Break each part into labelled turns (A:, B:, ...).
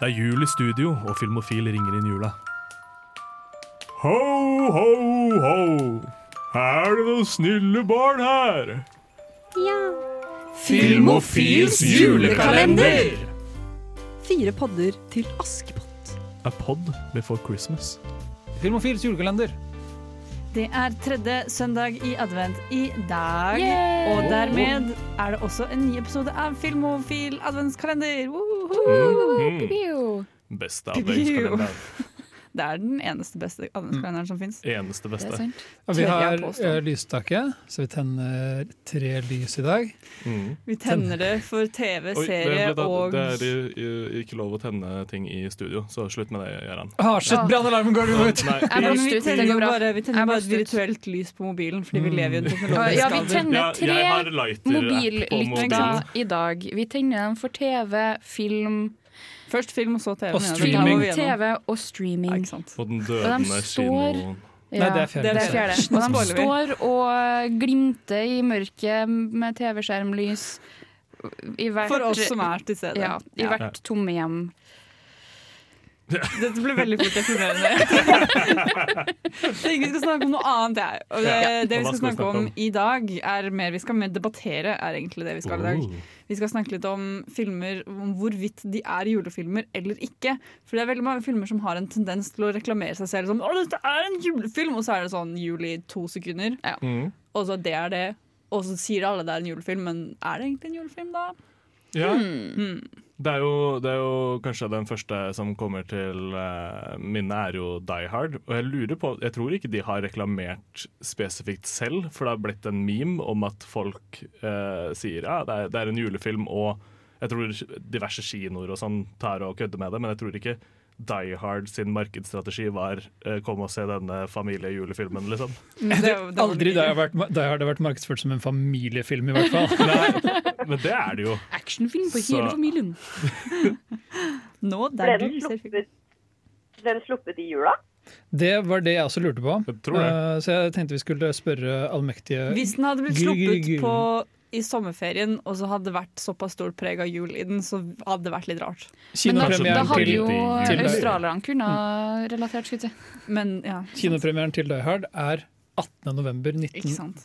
A: Det er jul i studio, og Filmofil ringer inn jula. Ho, ho, ho! Er det noen snille barn her?
B: Ja.
C: Filmofils julekalender!
B: Fire podder til Askepott.
A: A pod before Christmas.
C: Filmofils julekalender.
D: Det er tredje søndag i advent i dag.
B: Yay!
D: Og dermed er det også en ny episode av Filmofil adventskalender. Woohoo!
A: Mm. Beste
D: Piu.
A: adventskalender.
D: Det er den eneste beste adventskalenderen som fins.
A: Eneste
B: Det er
A: beste.
B: sant.
C: Og vi
D: Tør jeg
C: har
D: påstå.
C: eh, lysstake, så vi tenner tre lys i dag.
A: Mm.
D: Vi tenner det for TV,
A: Oi,
D: serie
A: vent litt, da.
D: og
A: det er i- i- ikke lov å tenne ting i studio, så slutt med det, Gøran.
C: Ah, shit, brannalarmen går jo ut!
A: Nei,
D: Ja, men
B: blåste
D: vi
B: ut,
D: tenner
B: det
D: jo
B: går bra.
D: bare, vi tenner
B: Jeg
D: bare et
B: blåste ut.
D: virtuelt lys på mobilen, fordi vi
A: Mm.
D: lever i en teknologisk
B: Ja, vi
D: alder.
A: Ja,
E: tenner
A: jeg har
E: tre
A: lighter på mobilen.
E: mobillykter i dag. Vi tenner dem for TV, film,
D: Først film, og så TV.
C: Og
D: mener jeg.
C: streaming.
D: Det er vi gjennom.
E: TV og
D: Ja,
E: streaming.
D: ikke sant.
A: På den
E: Og de
A: dødende
E: står-
A: kinoen.
C: Nei, det er
E: Ja,
C: fjerde.
D: Det er
E: det er fjerde.
D: Nå
E: Og de
D: spoiler vi.
E: står og glimter i mørket med TV-skjermlys i hvert
D: For oss som er til stede.
E: ja, i
D: Ja.
E: hvert tomme hjem.
D: Dette ble veldig fort deprimerende. Tenk, vi skal snakke om noe annet. Jeg. Og det,
A: Ja.
D: det vi
A: Og hva
D: skal snakke om i dag, er mer vi skal mer debattere. er egentlig det Vi skal i dag.
A: Oh.
D: Vi skal snakke litt om filmer, om hvorvidt de er julefilmer eller ikke. For det er veldig mange filmer som har en tendens til å reklamere seg selv som 'Å, dette er en julefilm!' Og så er det sånn jul i to sekunder.
A: Mm.
D: Og så det er det. Og så sier alle det er en julefilm, men er det egentlig en julefilm, da?
A: Ja. Det, er jo, det er jo kanskje den første som kommer til eh, minne, er jo Die Hard. Og jeg lurer på, jeg tror ikke de har reklamert spesifikt selv, for det har blitt en meme om at folk eh, sier ja, det er, det er en julefilm, og jeg tror diverse kinoer og sånn tar og kødder med det, men jeg tror ikke Die Hard sin markedsstrategi var eh, 'kom og se denne familiejulefilmen', liksom.
D: Det er jo- det er jo-
C: Aldri da jeg har vært, da jeg har det vært markedsført som en familiefilm, i hvert fall.
A: Men det er det jo.
E: Actionfilm for
A: Så-
E: hele familien.
D: Nå, der
F: Ble
D: du
F: den
D: ser film.
F: sluppet, ble den sluppet i jula?
C: Det var det jeg også lurte på.
A: Jeg tror det.
C: Eh, så jeg tenkte vi skulle spørre allmektige
D: Hvis den hadde blitt
C: Gul, gul,
D: sluppet
C: gul.
D: på i sommerferien, og så hadde det vært såpass stort preg av jul i den, så hadde det vært litt rart.
E: Men da,
A: Kanskje
C: Kinopremieren,
E: da hadde
C: til,
E: jo
A: til- Mm.
E: australierne kunnet relatert, skulle jeg si.
D: Men ja.
C: kinopremieren til Die Hard er 18.11.1988.
D: Ikke sant.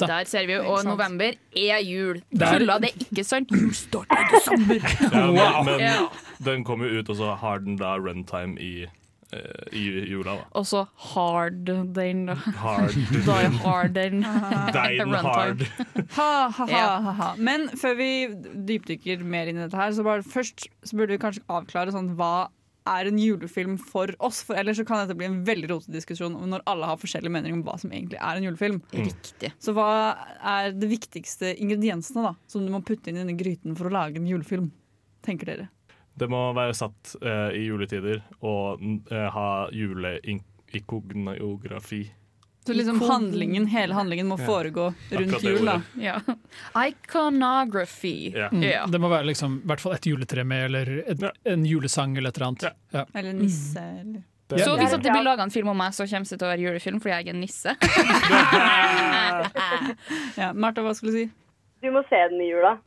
E: Der ser vi jo,
D: Ikke
E: og
D: sant.
E: november er jul.
C: Der-
E: Tulla det ikke sant? Jul starter i desember.
A: Ja, men, men
E: Ja.
A: den kommer jo ut, og så har den da runtime i, eh, i jula, da.
E: Og så hard den, da.
A: Hard.
E: Die hard den.
A: Dein
E: Runtime.
A: hard.
D: Ha, ha, ha,
E: Ja.
D: ha, ha. Men før vi dypdykker mer inn i dette her, så bare først så burde vi kanskje avklare sånn hva er en julefilm for oss? For ellers så kan dette bli en veldig rotete diskusjon om når alle har forskjellige meninger om hva som egentlig er en julefilm.
E: Riktig.
D: Så hva er de viktigste ingrediensene da, som du må putte inn i denne gryten for å lage en julefilm? Tenker dere.
A: Det må være satt eh, i juletider og eh, ha juleikognografi.
D: Så liksom
E: Ikon-
D: handlingen, hele handlingen må foregå rundt
A: Akkurat det
D: jul, da.
A: ordet.
E: Ja. Iconography.
A: Ja.
E: Ja.
C: Det må være liksom, i hvert fall et juletre med, eller et,
A: Ja.
C: en julesang eller et eller annet. Ja.
D: Eller nisse, eller
A: Det,
C: Så
E: Så
C: hvis
E: hvis det blir laga en film om meg, så kommer det til å være julefilm fordi jeg er en nisse.
D: ja, Martha, hva skulle du si?
F: Du må se den i jula.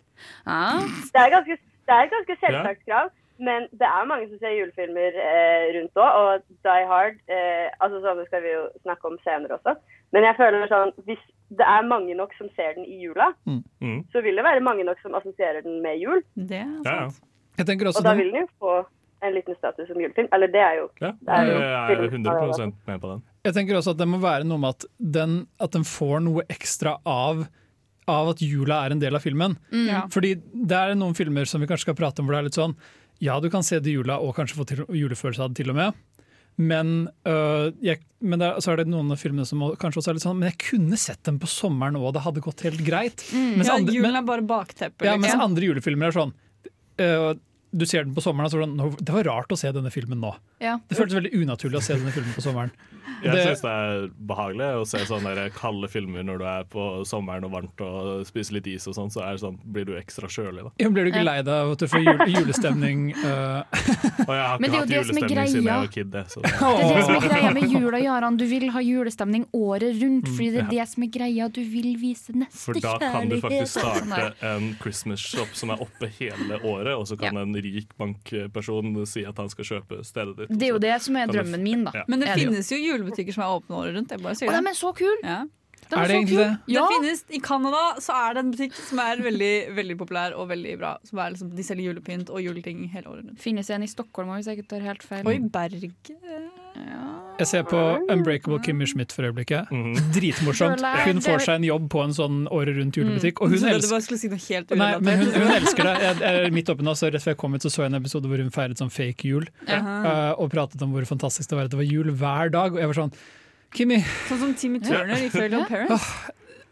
E: Ja.
F: Det er ganske, det er et ganske selvsagt krav, men det er mange som ser julefilmer eh, rundt òg, og Die Hard eh, altså Sånne skal vi jo snakke om senere også. Men jeg føler sånn, hvis det er mange nok som ser den i jula,
A: mm.
F: så vil det være mange nok som assosierer den med jul.
D: Det er
A: Ja, ja.
D: sant.
C: Jeg tenker også
F: Og da
C: den,
F: vil den jo få en liten status som julefilm. Eller det er jo
A: ja.
F: er jo
A: Jeg er
F: film-
A: 100 med på den.
C: Jeg tenker også at det må være noe med at den, at den får noe ekstra av, av at jula er en del av filmen.
D: Ja.
C: Fordi det er noen filmer som vi kanskje skal prate om hvor det er litt sånn Ja, du kan se det i jula og kanskje få til, julefølelse av det til og med. Men, øh, jeg, men det er, så er det noen av filmene som må- kanskje også er litt sånn Men jeg kunne sett dem på sommeren òg, det hadde gått helt greit. Mens,
D: Ja,
C: andre,
D: julen
C: men,
D: er bare bakteppet.
C: ja, mens
D: liksom.
C: andre julefilmer er sånn øh, Du ser den på sommeren, og så er det sånn «Nå, Det var rart å se denne filmen nå.
E: Ja.
C: Det føltes veldig unaturlig å se denne filmen på sommeren.
A: Jeg
C: Det-
A: syns det er behagelig å se sånne der kalde filmer når du er på sommeren og varmt og spiser litt is og sånn, så er det sånn, blir du ekstra kjølig, da.
C: Ja, Blir du ikke lei deg av at du får jule, julestemning? øh,
A: Og jeg har
E: Men
A: ikke
E: det er
A: hatt
E: jo det som er
A: julestemning siden jeg
E: greia.
A: var kid, jeg, så det
E: Det er det som er greia med jula, Jaran. Du vil ha julestemning året rundt. Fordi det er det som er greia. Du vil vise
A: For da kan du
E: nestekjærlighet.
A: faktisk starte
E: Nei.
A: en Christmas shop som er oppe hele året, og så kan
E: Ja.
A: den rik bankperson si at han skal kjøpe stedet ditt. liksom.
E: Det er jo det som er
A: Kan du-
E: drømmen min, da.
A: Ja.
D: Men det
E: Er det jo.
D: finnes jo julebutikker som er åpne året rundt. Jeg bare
E: Og
D: sier
E: de
D: det.
E: er så kul!
D: Ja.
E: De
C: Er det
E: så
C: egentlig
E: kul.
C: det?
E: Ja.
D: Det finnes, I Canada så er det en butikk som er veldig, veldig populær og veldig bra. Som er liksom, de selger julepynt og juleting hele året rundt.
E: Finnes en i Stockholm òg, hvis jeg ikke tar helt feil.
D: Og i Bergen
C: Jeg ser på Unbreakable Kimmy Schmidt for øyeblikket.
A: Mhm.
C: Dritmorsomt.
E: Føler jeg-
C: Hun får seg en jobb på en sånn året
D: Mm.
C: rundt julebutikk, og
D: Hun
C: hun
D: trodde du
C: elsker
D: bare skulle si noe helt
C: Nei,
D: urelatert.
C: men hun, hun elsker det. Jeg, jeg, midt oppi nå, så Rett før jeg kom hit, så, så jeg en episode hvor hun feiret sånn fake jul. eh, og pratet om hvor fantastisk det var at det var jul hver dag. Og jeg var sånn Kimmy,
D: Sånn som Timmy Turner i Fairly Odd Parents.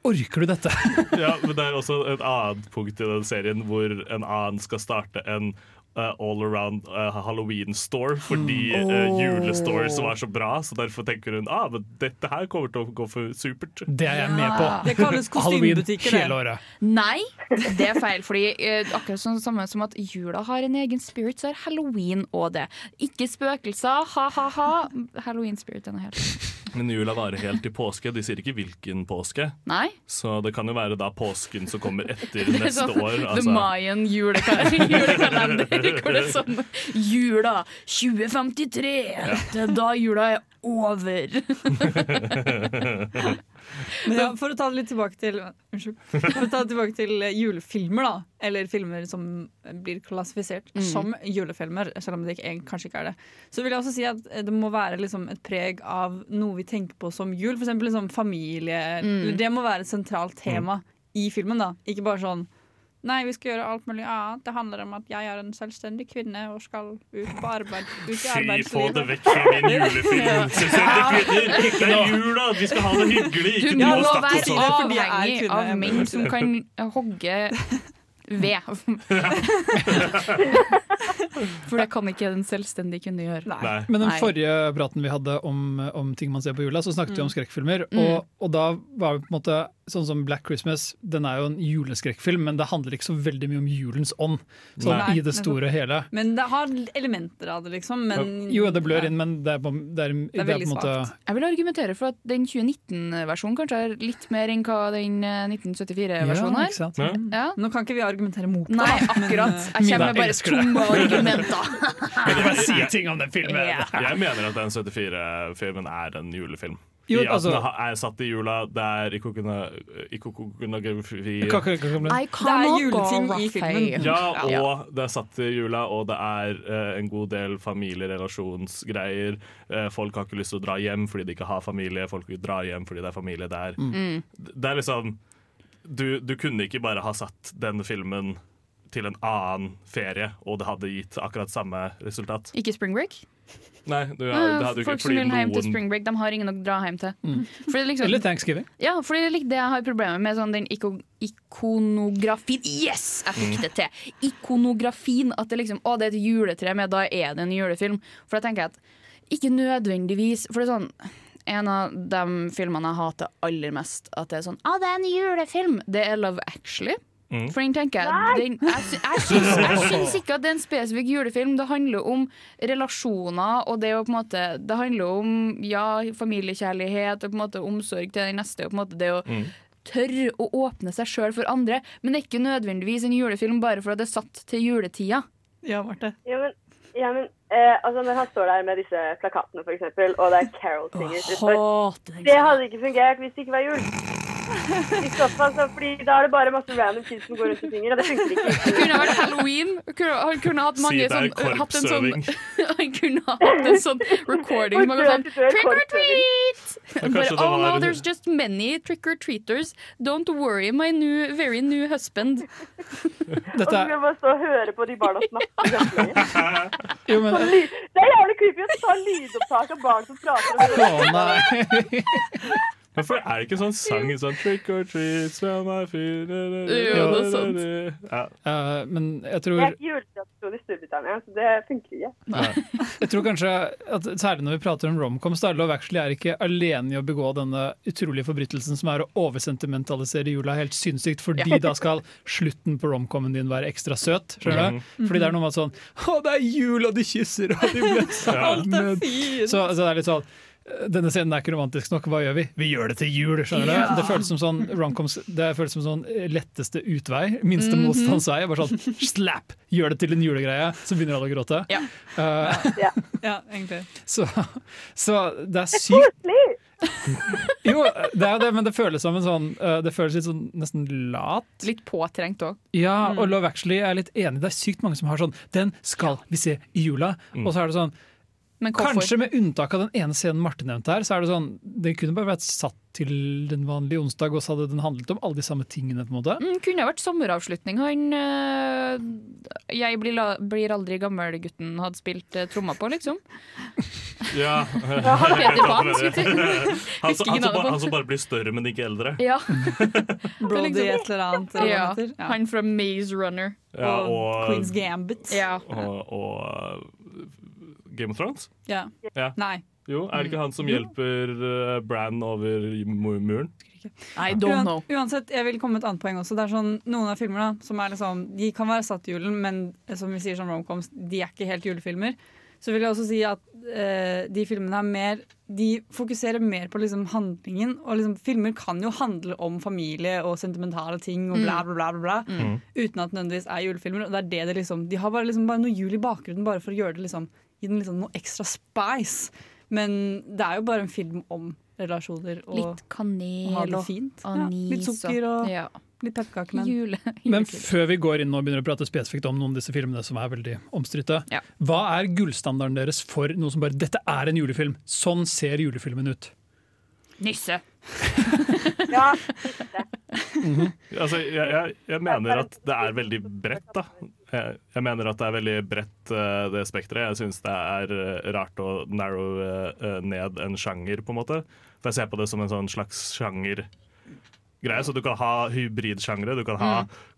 C: orker du dette?
A: Ja, men det er også et annet punkt i den serien hvor en annen skal starte en eh, all around eh, Halloween store fordi eh, julestores var så bra. Så derfor tenker hun ah, men dette her kommer til å gå for supert.
C: Det er jeg med på.
D: Det kalles
C: Halloween
D: kostymebutikker.
C: hele
D: det.
C: året.
E: Nei, det er feil. Fordi eh, akkurat sånn samme som at jula har en egen spirit, så er halloween òg det. Ikke spøkelser, ha-ha-ha. Halloween-spirit er noe helt annet.
A: Men jula varer helt til påske. De sier ikke hvilken påske.
E: Nei.
A: Så det kan jo være da påsken som kommer etter
E: Det er
A: neste
E: sånn
A: år.
E: The
A: Altså.
E: Mayan julekalender, julekalender hvor det er sånn Jula 2053! Det er da jula er over.
D: Men ja, for å ta det litt tilbake til Unnskyld. For å ta det tilbake til eh, julefilmer, da. Eller filmer som eh, blir klassifisert som julefilmer, selv om det ikke, egentlig kanskje ikke er det. Så vil jeg også si at eh, det må være liksom et preg av noe vi tenker på som jul. F.eks. Liksom familie. Det må være et sentralt tema i filmen, da. Ikke bare sånn Nei, vi skal gjøre alt mulig annet. Det handler om at jeg er en selvstendig kvinne og skal ut på arbeid. Ut i
A: Fy, få det
D: arbeidslivet.
A: vekk fra min julefilm! Selvstendige kvinner! Det er jula! Vi skal ha det hyggelig!
E: Du
A: Ikke
E: må
A: noe å snakke
E: være
A: sånn.
D: fordi jeg er
E: avhengig
D: kvinne,
E: av
D: jeg må
E: menn som kan hogge ved. For det kan ikke en selvstendig kvinne gjøre.
D: Nei.
A: Nei.
C: Men den
E: Nei.
C: forrige praten vi hadde om, om ting man ser på jula, så snakket vi om skrekkfilmer. Og, og da var det på en måte sånn som Black Christmas, den er jo en juleskrekkfilm, men det handler ikke så veldig mye om julens ånd, sånn
D: Nei.
C: i det store og hele.
D: Men det har elementer av det, liksom. Men
C: Jo, det blør inn, men det er på, det er, det er på
D: veldig
C: en måte
D: svakt.
E: Jeg vil argumentere for at den 2019-versjonen kanskje er litt mer enn hva den eh, 1974-versjonen
C: Ja,
E: er.
C: ikke sant?
A: Ja.
E: Ja.
D: Nå kan ikke vi argumentere mot det.
E: Nei,
D: da, men,
E: akkurat.
D: eh,
E: Jeg kommer
C: Mina
E: med bare
C: elsker det.
E: tomme argumenter.
C: Jeg vil bare si ting om den filmen!
E: Ja.
A: Jeg mener at den 74-filmen er en julefilm.
C: Jo,
A: I at
C: altså-
A: den ha- er satt i jula, det er ikokona- ikokonografi
C: Kake- kake- kake-
E: I cannot
D: Det er juleting
E: go
D: i filmen.
E: Raphael.
A: ja, og det er satt i jula, og det er eh, en god del familierelasjonsgreier. Eh, folk har ikke lyst til å dra hjem fordi de ikke har familie, folk vil dra hjem fordi det er familie der.
E: Mm.
A: Det er liksom du, du kunne ikke bare ha satt den filmen til en annen ferie, og det hadde gitt akkurat samme resultat.
E: Ikke Spring Break?
A: Nei, du,
E: Ah,
A: det hadde jo ikke
E: Folk som
A: fordi
E: vil hjem til
A: noen Mm.
E: Spring Break, de har ingen å dra hjem til. Fordi liksom,
C: Eller Thanksgiving.
E: Ja, for det er litt det jeg har problemer med. Sånn, den iko ikonografien Yes! Jeg fikk det til! Ikonografien. At det liksom Å, det er et juletre med, da er det en julefilm. For da tenker jeg at ikke nødvendigvis For det er sånn en av de filmene jeg hater aller mest, at det er sånn Å, det er en julefilm! Det er Love Actually.
A: Mm.
E: For den tenker jeg den, jeg, sy jeg, syns, jeg syns ikke at det er en spesifikk julefilm. Det handler om relasjoner, og det, er jo på en måte, det handler om ja, familiekjærlighet og på en måte omsorg til den neste. Og på en måte det å
A: Mm.
E: tørre å åpne seg sjøl for andre. Men det er ikke nødvendigvis en julefilm bare for at det er satt til juletida.
D: Ja, Marte.
F: Ja, men, ja, men eh, altså, når han står der med disse plakatene, for eksempel, og det er Carol Singers utfor Det hadde ikke fungert hvis det ikke var jul. I så fall, så, fordi da er det bare masse random kids som går rundt og synger, og det funker ikke.
E: Det kunne vært halloween. Kunne, han kunne hatt
A: Si
E: mange
A: det er
E: sånn, hatt en sånn
A: korpsøving.
E: Han kunne hatt en sånn recording. som hadde gått sånn, Trick or treat! But,
A: kanskje det
E: oh no,
A: var-
E: there's just many trick or treaters. Don't worry, my new, very new husband.
F: Og
C: Dette
F: så
C: er,
F: kan jeg bare stå og høre på de barna snakke. samtidig.
C: jo, men,
F: Det er jævlig creepy å ta lydopptak av barn som prater. Og
C: å, nei.
A: Hvorfor er det ikke sånn sang sånn Trick or treat, smell my feet
E: Jo, det er sant.
A: Ja.
C: Eh, men jeg
F: det
C: tror
F: er ikke juletradisjon i Storbritannia, så det funker ikke.
C: Jeg tror kanskje at Særlig når vi prater om romcoms, da, Love Actually er ikke alene i å begå denne utrolige forbrytelsen som er å oversentimentalisere jula helt sinnssykt, fordi da skal slutten på romcomen din være ekstra søt. Skjønner du? Fordi det er noe med at sånn Å, det er jul, og de kysser, og de blir sammen! Så, så det er litt sånn denne scenen er ikke romantisk nok, hva gjør vi? Vi gjør det til jul! skjønner du? Det føles som sånn romcoms, det føles som sånn letteste utvei. Minste motstands vei. Bare sånn slap! Gjør det til en julegreie, så begynner alle å gråte.
E: Ja.
C: Eh,
D: Ja, egentlig.
C: så, så det er sykt
F: Please!
C: Jo, det er jo det, men det føles som en sånn eh, Det føles litt sånn nesten lat.
E: Litt påtrengt òg.
C: Ja,
E: Mm.
C: og Love Actually er jeg litt enig. Det er sykt mange som har sånn Den skal vi se i jula! Og så er det sånn
E: Men hvorfor?
C: Kanskje med unntak av den ene scenen Marte nevnte her, så er det sånn Den kunne bare vært satt til den vanlige onsdag, og så hadde den handlet om alle de samme tingene, på en måte.
E: Mm, kunne ha vært sommeravslutning. Han øh, Jeg blir, la, blir aldri gammel-gutten hadde spilt uh, tromma på, liksom.
A: Ja.
E: Peter Pan, skulle jeg si.
A: Han, som-
E: Husker ikke
A: han, som
E: navnet på
A: bare,
E: han.
A: han som bare blir større, men ikke eldre.
E: Ja.
A: liksom
D: Brody et eller annet. eller hva
E: ja.
D: det heter. Ja.
E: Han fra Maze Runner.
A: Ja,
D: og Queen's
A: og,
D: Gambit.
E: Ja.
A: og, og Game of Thrones?
D: Ja.
A: Ja.
D: Nei.
A: Jo,
E: Mm.
A: er det ikke han som hjelper eh, Bran over mu- muren?
E: I
D: Uan-
E: don't know.
D: Uansett, jeg vil komme med et annet poeng også. Det er sånn, Noen av filmene som er liksom, de kan være satt i julen, men eh, som vi sier som romcoms, de er ikke helt julefilmer. Så vil jeg også si at eh, de filmene er mer De fokuserer mer på liksom handlingen. Og liksom, filmer kan jo handle om familie og sentimentale ting og bla, bla,
E: Mm.
D: bla. bla, bla Uten at det nødvendigvis er julefilmer. Og det er det det liksom De har bare, liksom, bare noe jul i bakgrunnen bare for å gjøre det liksom gi den liksom noe ekstra spice. Men det er jo bare en film om relasjoner og
E: Litt kanel
D: og ha det
E: og
D: fint.
E: anis.
D: litt sukker og
E: ja.
D: litt pepperkakemenn.
E: Jule.
C: Men før vi går inn og begynner å prate spesifikt om noen av disse filmene som er veldig omstridte,
E: Ja.
C: hva er gullstandarden deres for noe som bare Dette er en julefilm! Sånn ser julefilmen ut.
E: Nisse.
F: Ja,
A: Altså, jeg, jeg, jeg mener at det er veldig bredt, da. Jeg, jeg mener at det er veldig bredt, eh, det spekteret. Jeg syns det er eh, rart å narrow eh, ned en sjanger, på en måte. For jeg ser på det som en sånn slags sjanger. Greie, så Du kan ha hybridsjangre, du kan ha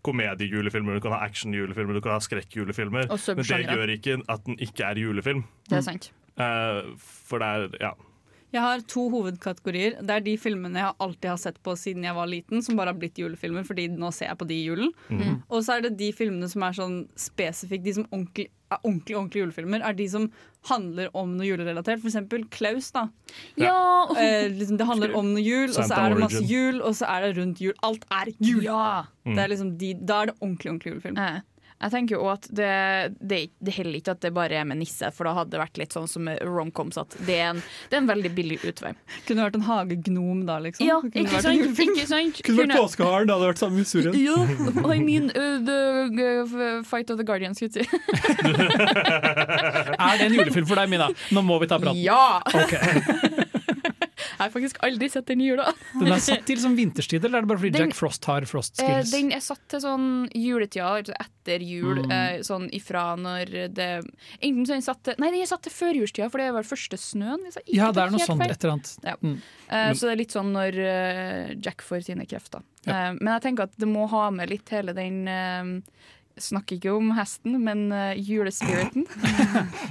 A: komediejulefilmer, du kan ha actionjulefilmer, du kan ha skrekkjulefilmer.
E: Og
A: Men det
E: subsjangre.
A: gjør ikke at den ikke er julefilm.
E: Det er sant.
A: Eh, for det er Ja.
D: Jeg har to hovedkategorier. Det er de filmene jeg alltid har sett på siden jeg var liten, som bare har blitt julefilmer, fordi nå ser jeg på de i julen.
A: Mhm.
D: Og så er det de filmene som er sånn spesifikt, de som ordentlig, er ordentlig, ordentlig julefilmer, er de som handler om noe julerelatert. For eksempel Klaus, da.
E: Ja!
D: Eh, liksom, det handler om noe jul, og så
A: Santa
D: er det masse
A: Origin. Mm.
D: jul, og så er det rundt jul. Alt er jul! Det er liksom de, da er det ordentlig, ordentlig julefilm.
E: Eh, Jeg tenker jo også at det, det, er ikke- det heller ikke at det bare er med nisse, for da hadde det vært litt sånn som med romcoms, at det er en, det er en veldig billig utvei.
D: Kunne vært en hagegnom da, liksom.
E: Ja,
D: Kunne vært
E: ikke
D: en
E: sant?
D: julefilm.
E: Ikke sant?
C: påskeharen, det hadde vært samme historien.
E: Ja, I mean uh, the uh, fight of the guardians, skulle jeg si.
C: Er det en julefilm for deg, Mina? Nå må vi ta praten.
E: Ja!
C: Ok.
E: Jeg har faktisk aldri sett den i jula.
C: Den er satt til som vinterstid, eller er det bare fordi
E: Den-
C: Jack Frost har frost
E: Eh,
C: skills? Mm.
E: den er satt til sånn juletida, altså etter jul, eh, sånn ifra når det Enten så er den satt til Nei, den er satt til førjulstida, for det er vel første snøen. hvis jeg ikke
C: Ja, det er
E: tar
C: noe sånn sånt.
E: helt feil.
C: Et eller annet.
E: Ja.
C: Mm.
E: Eh, så det er litt sånn når eh, Jack får sine krefter. Eh, men jeg tenker at det må ha med litt hele den eh, Snakker ikke om hesten, men eh, julespiriten.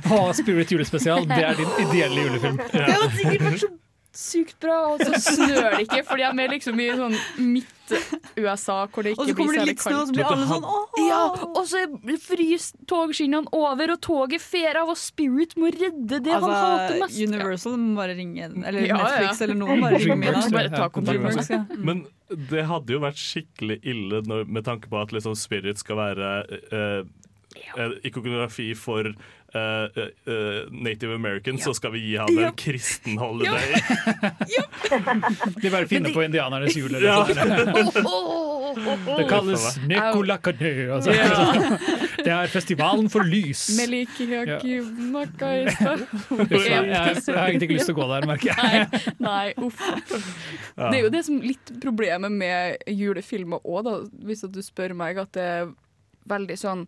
C: Å, Spirit julespesial, det er din ideelle julefilm.
E: Det hadde sikkert vært så sykt bra, og så snør det ikke, fordi jeg er liksom i sånn midt-USA hvor det
D: Og
E: ikke
D: så kommer det
E: blir særlig
D: litt snø, og
E: kaldt.
D: så blir alle sånn åh!
E: Ja, og så fryser togskinnene over, og toget fer av, og Spirit må redde det han
D: sånn,
E: hater mest.
D: Altså, Universal må bare ringe Eller
E: Ja, ja.
D: Netflix eller noen bare ringer med
C: Dreamworks,
D: deg.
E: Bare ta kontakt med
D: Dreamworks,
E: meg.
D: ja.
A: Men det hadde jo vært skikkelig ille når, med tanke på at liksom Spirit skal være eh, eh, ikonografi for eh, eh, eh, Native Americans, så skal vi gi ham en kristen holiday.
C: De bare finner
E: Men de-
C: på indianernes jul. eller
A: Ja.
C: noe sånt. Det kalles Nekolakane. Altså. Det er festivalen for lys. Jeg, jeg, jeg har egentlig ikke lyst til å gå der, merker jeg.
E: Nei, nei, uff. Det er jo det som litt problemet med julefilmer òg, da, hvis at du spør meg, at det er veldig sånn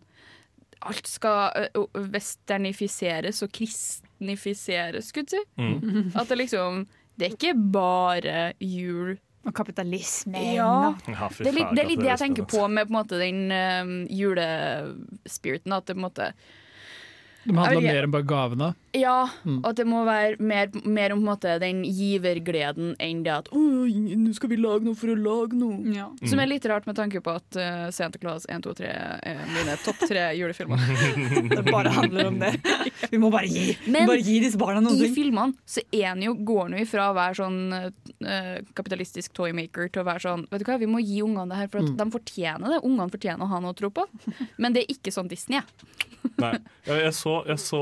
E: Alt skal ø, ø, westernifiseres og kristnifiseres, skulle jeg si. At det liksom Det er ikke bare jul.
D: Og kapitalisme.
E: Ja.
A: Ja, fy altså.
E: Det er litt
A: faen,
E: det, er litt det jeg
A: høres
E: tenker
A: ut.
E: eh, på med på en måte, den ø, julespiriten. At det på en måte
C: De handler
E: Jeg
C: om
E: vil-
C: mer enn bare gavene.
E: Ja, og at det må være mer, mer om på en måte, den givergleden enn det at «Åh, nå skal vi lage noe for å lage noe.
D: Ja.
E: Som er litt rart med tanke på at uh, Santa Claus 1, 2, 3 er mine topp tre julefilmer.
D: Det bare handler om det. Vi må bare gi, Vi
E: Men-
D: må bare gi disse barna noen
E: I
D: ting.
E: filmene så er han jo, går han jo ifra å være sånn eh, kapitalistisk toymaker til å være sånn Vet du hva, vi må gi ungene det her, for at de fortjener det. Ungene fortjener å ha noe å tro på. Men det er ikke sånn Disney er.
A: Nei. Jeg, jeg, så, jeg så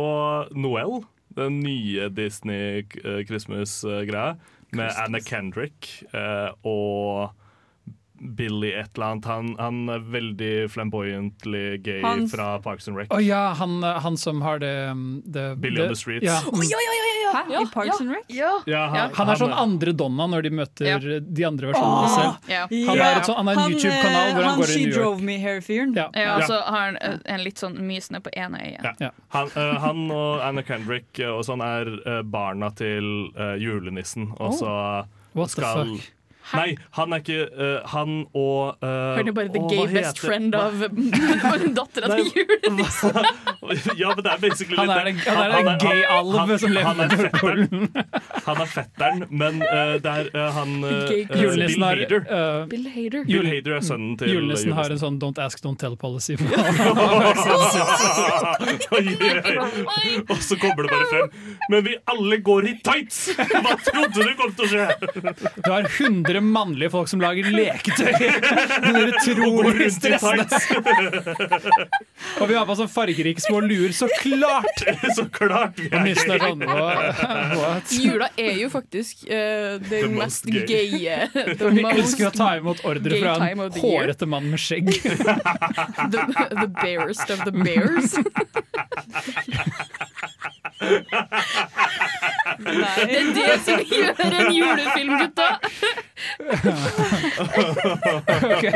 A: Noel, den nye Disney eh, Christmas-greia, med Anna Kendrick eh, og Billy et eller annet. Han, han er veldig flamboyantly gay
D: Hans-
A: fra Parks and Rec.
C: Å ja, han, han som har det, um, det
A: Billy
C: det,
A: on the Streets.
C: Ja.
D: Hæ? I Parks and Rec?
E: Ja.
A: Ja,
C: Han er sånn andre Donna når de møter
E: Ja.
C: de andre versjonene selv.
E: Ja.
C: Han
D: Ja.
C: er et sånn- han har en YouTube-kanal hvor han går i
D: eh, She
C: New York.
D: Drove Me Here-fyren.
C: Ja.
E: Ja,
A: Ja.
E: og så har han eh, en litt sånn mysende på ene øyet.
A: Ja.
C: Ja.
A: Han, eh, han og Anna Kendrick eh, og sånn er eh, barna til eh, julenissen. Og så
C: Oh. What the
A: skal eh,
C: fuck?
A: Nei, han er ikke eh, Han og eh,
E: Han er bare the
A: å,
E: gay
A: hva
E: best
A: heter-
E: friend
A: hva-
E: av dattera til julenissen.
A: ja, men det er basically
C: Han
A: litt
C: er
A: det.
C: en- han er en
A: han-
C: gay
A: han-
C: alv som lever
A: han er fetteren. Han er fetteren, men eh, det er eh, han eh,
E: Gay-
A: eh,
C: Julenissen
A: Bill
C: har,
A: Hader.
C: eh,
E: Bill Hader.
A: Bill Hader er sønnen til
C: julenissen har en sånn don't ask, don't tell policy. Hva
A: Oi, oi, oi. Og så kommer det bare frem. Men vi alle går i tights! Hva trodde du kom til å skje?
C: Du har 100 mannlige folk som lager leketøy.
A: Går
C: Utrolig
A: rundt i
C: stressende.
A: tights,
C: Og vi har på sånn fargerike små luer. Så klart!
A: så klart vi
C: Og
A: er
C: nissen
A: gay.
C: er sånn «Hva- What?
E: Jula er jo faktisk eh,
A: The
E: den
A: most
E: mest
A: gay.
E: gaye The
C: Vi
E: most
C: elsker å ta imot ordre
E: gay
C: fra en
E: time of the year.
C: hårete mann med skjegg.
E: the, the barest of the bears.
D: Nei.
E: Det som gjør en julefilm, gutta!
C: Ok.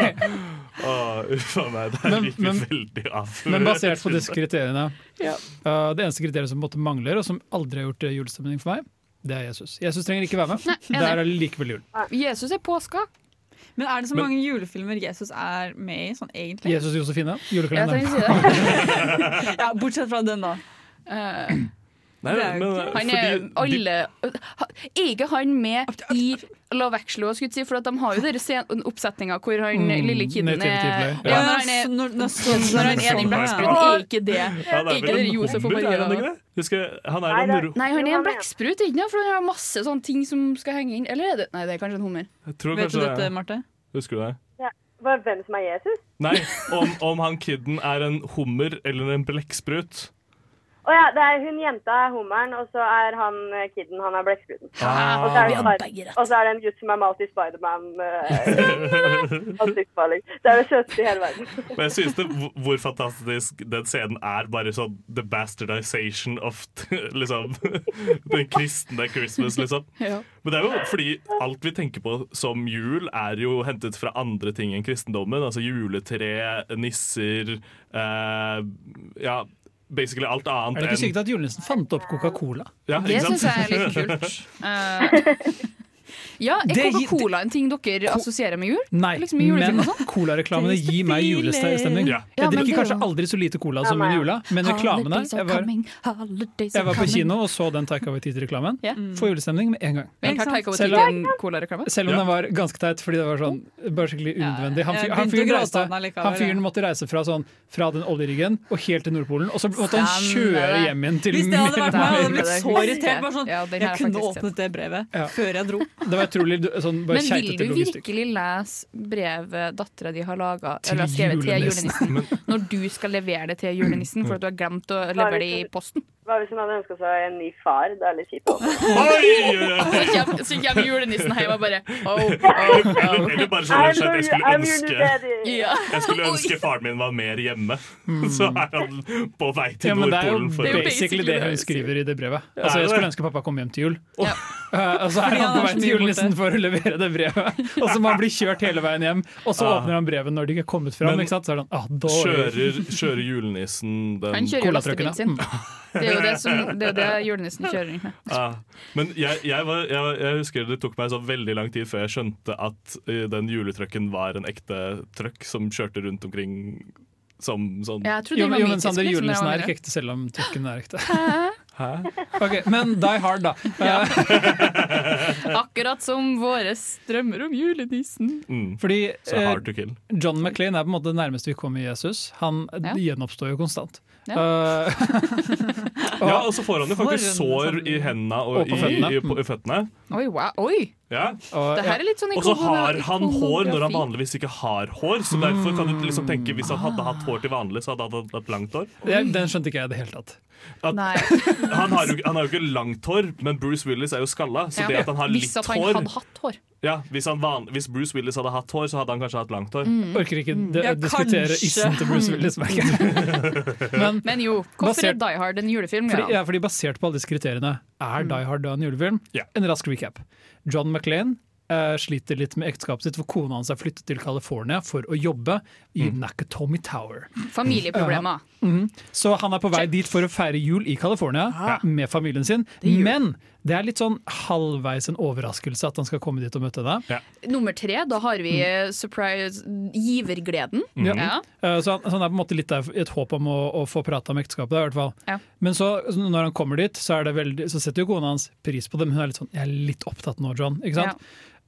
A: Åh, uff a meg, det
C: Men-
A: gikk vi
C: men-
A: veldig av.
C: Men basert på disse kriteriene
E: Ja.
C: uh, Det eneste kriteriet som på en måte mangler, og som aldri har gjort eh, julestemning for meg, det er Jesus. Jesus trenger ikke være med.
E: enig.
C: Der er det likevel jul.
E: Jesus er påska.
D: Men er det så
A: Men-
D: mange julefilmer Jesus er med i, sånn egentlig?
C: Jesus og Josefine,
E: Jeg trenger
C: julekalenderen.
E: ikke si det.
D: Ja, bortsett fra den, da.
E: Eh,
A: Nei,
D: det er jo
A: men,
D: ikke-
E: han er
A: fordi de-
E: alle ha- Er ikke han med i Love Actually? også, skulle jeg si, for at de har jo denne oppsetninga hvor han
C: Mm,
E: lille kiden er
C: nativity play.
E: Ja, når han
D: s-
E: er
D: når, når,
E: når han er i blekkspruten, er ikke det
A: Han er
E: Ikke
A: vel
E: det
A: en
E: Josef og
A: hummer,
E: Maria,
A: er han
E: da?
A: ikke det? Husker jeg- Han er
F: Nei,
A: en
F: det er-
A: ro-
E: Nei, han er
F: Jo,
E: en
F: han er.
E: blekksprut, ikke sant? For han har masse sånne ting som skal henge inn. Eller er det Nei, det er kanskje en hummer.
A: Jeg tror
D: Vet du
A: kanskje
D: dette,
A: det.
D: Marte?
A: Husker du det?
F: Hva- Hvem som er Jesus?
A: Nei, om, om han kidden er en hummer eller en blekksprut.
F: Å ja, det er hun jenta er hummeren, og så er han eh, kidden, han er blekkspruten.
A: Ah,
F: Og så er det bare- og så er det en gutt som er malt i Spiderman. eh, ansiktsmaling. det er det søteste i hele verden.
A: Men jeg synes det, hvor- hvor fantastisk den scenen er. Bare sånn the bastardization of liksom, den kristne Christmas, liksom.
E: Ja.
A: Men det er jo fordi alt vi tenker på som jul, er jo hentet fra andre ting enn kristendommen. Altså juletre, nisser eh, Ja, basically alt
C: Er
A: annet
C: det ikke
A: enn
C: sykt at julenissen fant opp Coca-Cola?
A: ja,
E: Det
A: ikke sant?
E: syns jeg er litt kult. Eh, ja, er
C: Det-
E: Coca-Cola en ting dere assosierer med jul?
C: Nei,
E: Liksom i julefilm
C: men
E: og
C: cola-reklamene gir meg julestemning.
A: Ja.
E: Ja,
C: Jeg
E: men
C: drikker
E: det er
C: kanskje
E: jo-
C: aldri så lite cola som i
F: men-
C: jula, men reklamene
E: Holidays are
C: Jeg var,
E: coming, holidays
C: jeg
E: are
C: var på
E: coming.
C: kino og så den Taika Waititi-reklamen. Mm.
E: Ja.
C: Får julestemning med en gang.
E: Men har Taika
C: Selv
E: Waititi
C: om-
E: en Cola-reklame?
C: Selv om
A: Ja.
C: den var ganske teit, fordi det var sånn bare skikkelig unødvendig. Han,
D: jeg
C: fyr, han,
D: begynte å
C: fyren,
D: gråte
C: reiste,
D: av den allikevel,
C: han fyren
D: ja.
C: måtte reise fra, sånn, fra den oljeriggen og helt til Nordpolen, og så måtte han
E: Stemmer
C: kjøre
E: det.
C: hjem igjen til
D: Hvis det hadde vært meg, hadde jeg
E: Det
D: blitt
E: er
D: så
E: husker jeg.
D: irritert. Bare sånn,
E: Ja,
D: jeg
E: den har jeg
D: kunne
E: faktisk sett.
D: åpnet det brevet
C: Ja.
D: før jeg dro.
C: Det var utrolig sånn, bare
E: Men vil
C: keitete
E: du
C: logistikk.
E: virkelig lese brevet dattera di har laga
C: Til
E: eller har skrevet til
C: julenissen.
E: julenissen, når du skal levere det til julenissen for at du har glemt å levere det i posten?
F: Hva hvis hun hadde ønska seg en ny far? Det er litt kjipt. også.
A: Oi!
E: Så kommer, så kommer julenissen hjem og bare oh, oh, oh.
A: Eller bare sånn
F: I'm
A: rett og slett,
F: your,
A: jeg skulle
F: I'm your new
A: ønske
F: daddy.
E: Ja.
A: Jeg skulle ønske faren min var mer hjemme. Så er han på vei til
C: Mm. Ja, men det er jo
A: Nordpolen. For
E: Det er jo
A: å-
C: basically det hun skriver i det brevet.
A: det
C: Altså, jeg
A: det?
C: skulle ønske pappa kom hjem til jul.
E: Ja.
C: Eh, og så er han
D: Fordi
C: på
D: han er
C: vei
D: så
C: til
D: mye borte.
C: julenissen for å levere det brevet. Og så må han bli kjørt hele veien hjem, og så
A: Ah.
C: åpner han brevet når de ikke er kommet fram.
A: Men
C: Ikke sant? Så er det sånn, ah, dårlig.
A: kjører, kjører julenissen den
E: Han kjører jo lastebilen sin.
C: Colatruckene.
E: Det er jo det, som, det, er jo det julenissen kjører rundt med.
A: Ah. Men jeg, jeg, var, jeg, jeg husker det tok meg så veldig lang tid før jeg skjønte at eh, den juletrucken var en ekte trøkk som kjørte rundt omkring som sånn
E: Jeg trodde
C: Jo, men-
E: den var
C: jo, men
E: mytisk,
C: Sander,
E: liksom,
C: julenissen
E: den
C: er
E: andre.
C: ikke ekte, selv om tyrken er ekte.
A: Hæ?
C: Ok, Men Die Hard, da. Eh,
E: Akkurat som våre strømmer om julenissen.
A: Mm.
C: Fordi
A: Så
C: eh,
A: hard to kill.
C: John McLean er på en måte det nærmeste vi kommer Jesus. Han
E: Ja.
C: gjenoppstår jo konstant.
A: Ja,
C: Eh,
A: og så får han jo faktisk
D: For en
A: sår i hendene og,
C: Og på
A: i,
C: føttene.
A: i, på, i føttene.
E: Oi, wow. Oi!
A: Ja.
C: og,
E: Det her er litt sånn
A: Og så har
E: ikono-
A: han hår når han
E: ikonografi.
A: vanligvis ikke har hår. Så derfor kan du liksom tenke hvis han hadde hatt hår til vanlig, så hadde han hatt- hatt langt hår.
C: ja, jeg- Den skjønte ikke jeg i det hele tatt.
A: At,
E: Nei.
A: han, har jo, han har jo ikke langt hår, men Bruce Willis er jo skalla. Så
E: Ja.
A: det at han har
E: Hvis
A: litt
E: at han
A: hår
E: hadde hatt hår.
A: ja, hvis, han van, hvis Bruce Willis hadde hatt hår, så hadde han kanskje hatt langt hår.
E: Mm.
C: Orker ikke de,
D: Ja,
C: diskutere
D: kanskje.
C: issen til Bruce Willis. merker jeg. Men
E: Men jo, hvorfor er
C: Basert-
E: Die Hard en julefilm?
C: fordi,
E: ja.
C: ja, fordi basert på alle disse kriteriene, er Die Hard da en julefilm?
A: Ja.
C: En rask recap. John McLean eh, sliter litt med ekteskapet sitt, for kona hans er flyttet til California for å jobbe i Nakatomi Tower.
E: Familieproblemer.
C: Så han er på vei dit for å feire jul i California med familien sin. Men det er litt sånn halvveis en overraskelse at han skal komme dit og møte henne.
E: Nummer tre, da har vi eh, surprise givergleden.
A: Mm.
C: Ja.
E: Ja.
C: Eh, Så han, så han er på en måte litt der i et håp om å, å få prata om ekteskapet. i hvert fall.
E: Ja.
C: Men så, så når han kommer dit, så, er det veldig, så setter jo kona hans pris på det, men hun er litt sånn 'jeg er litt opptatt nå, John'. ikke sant?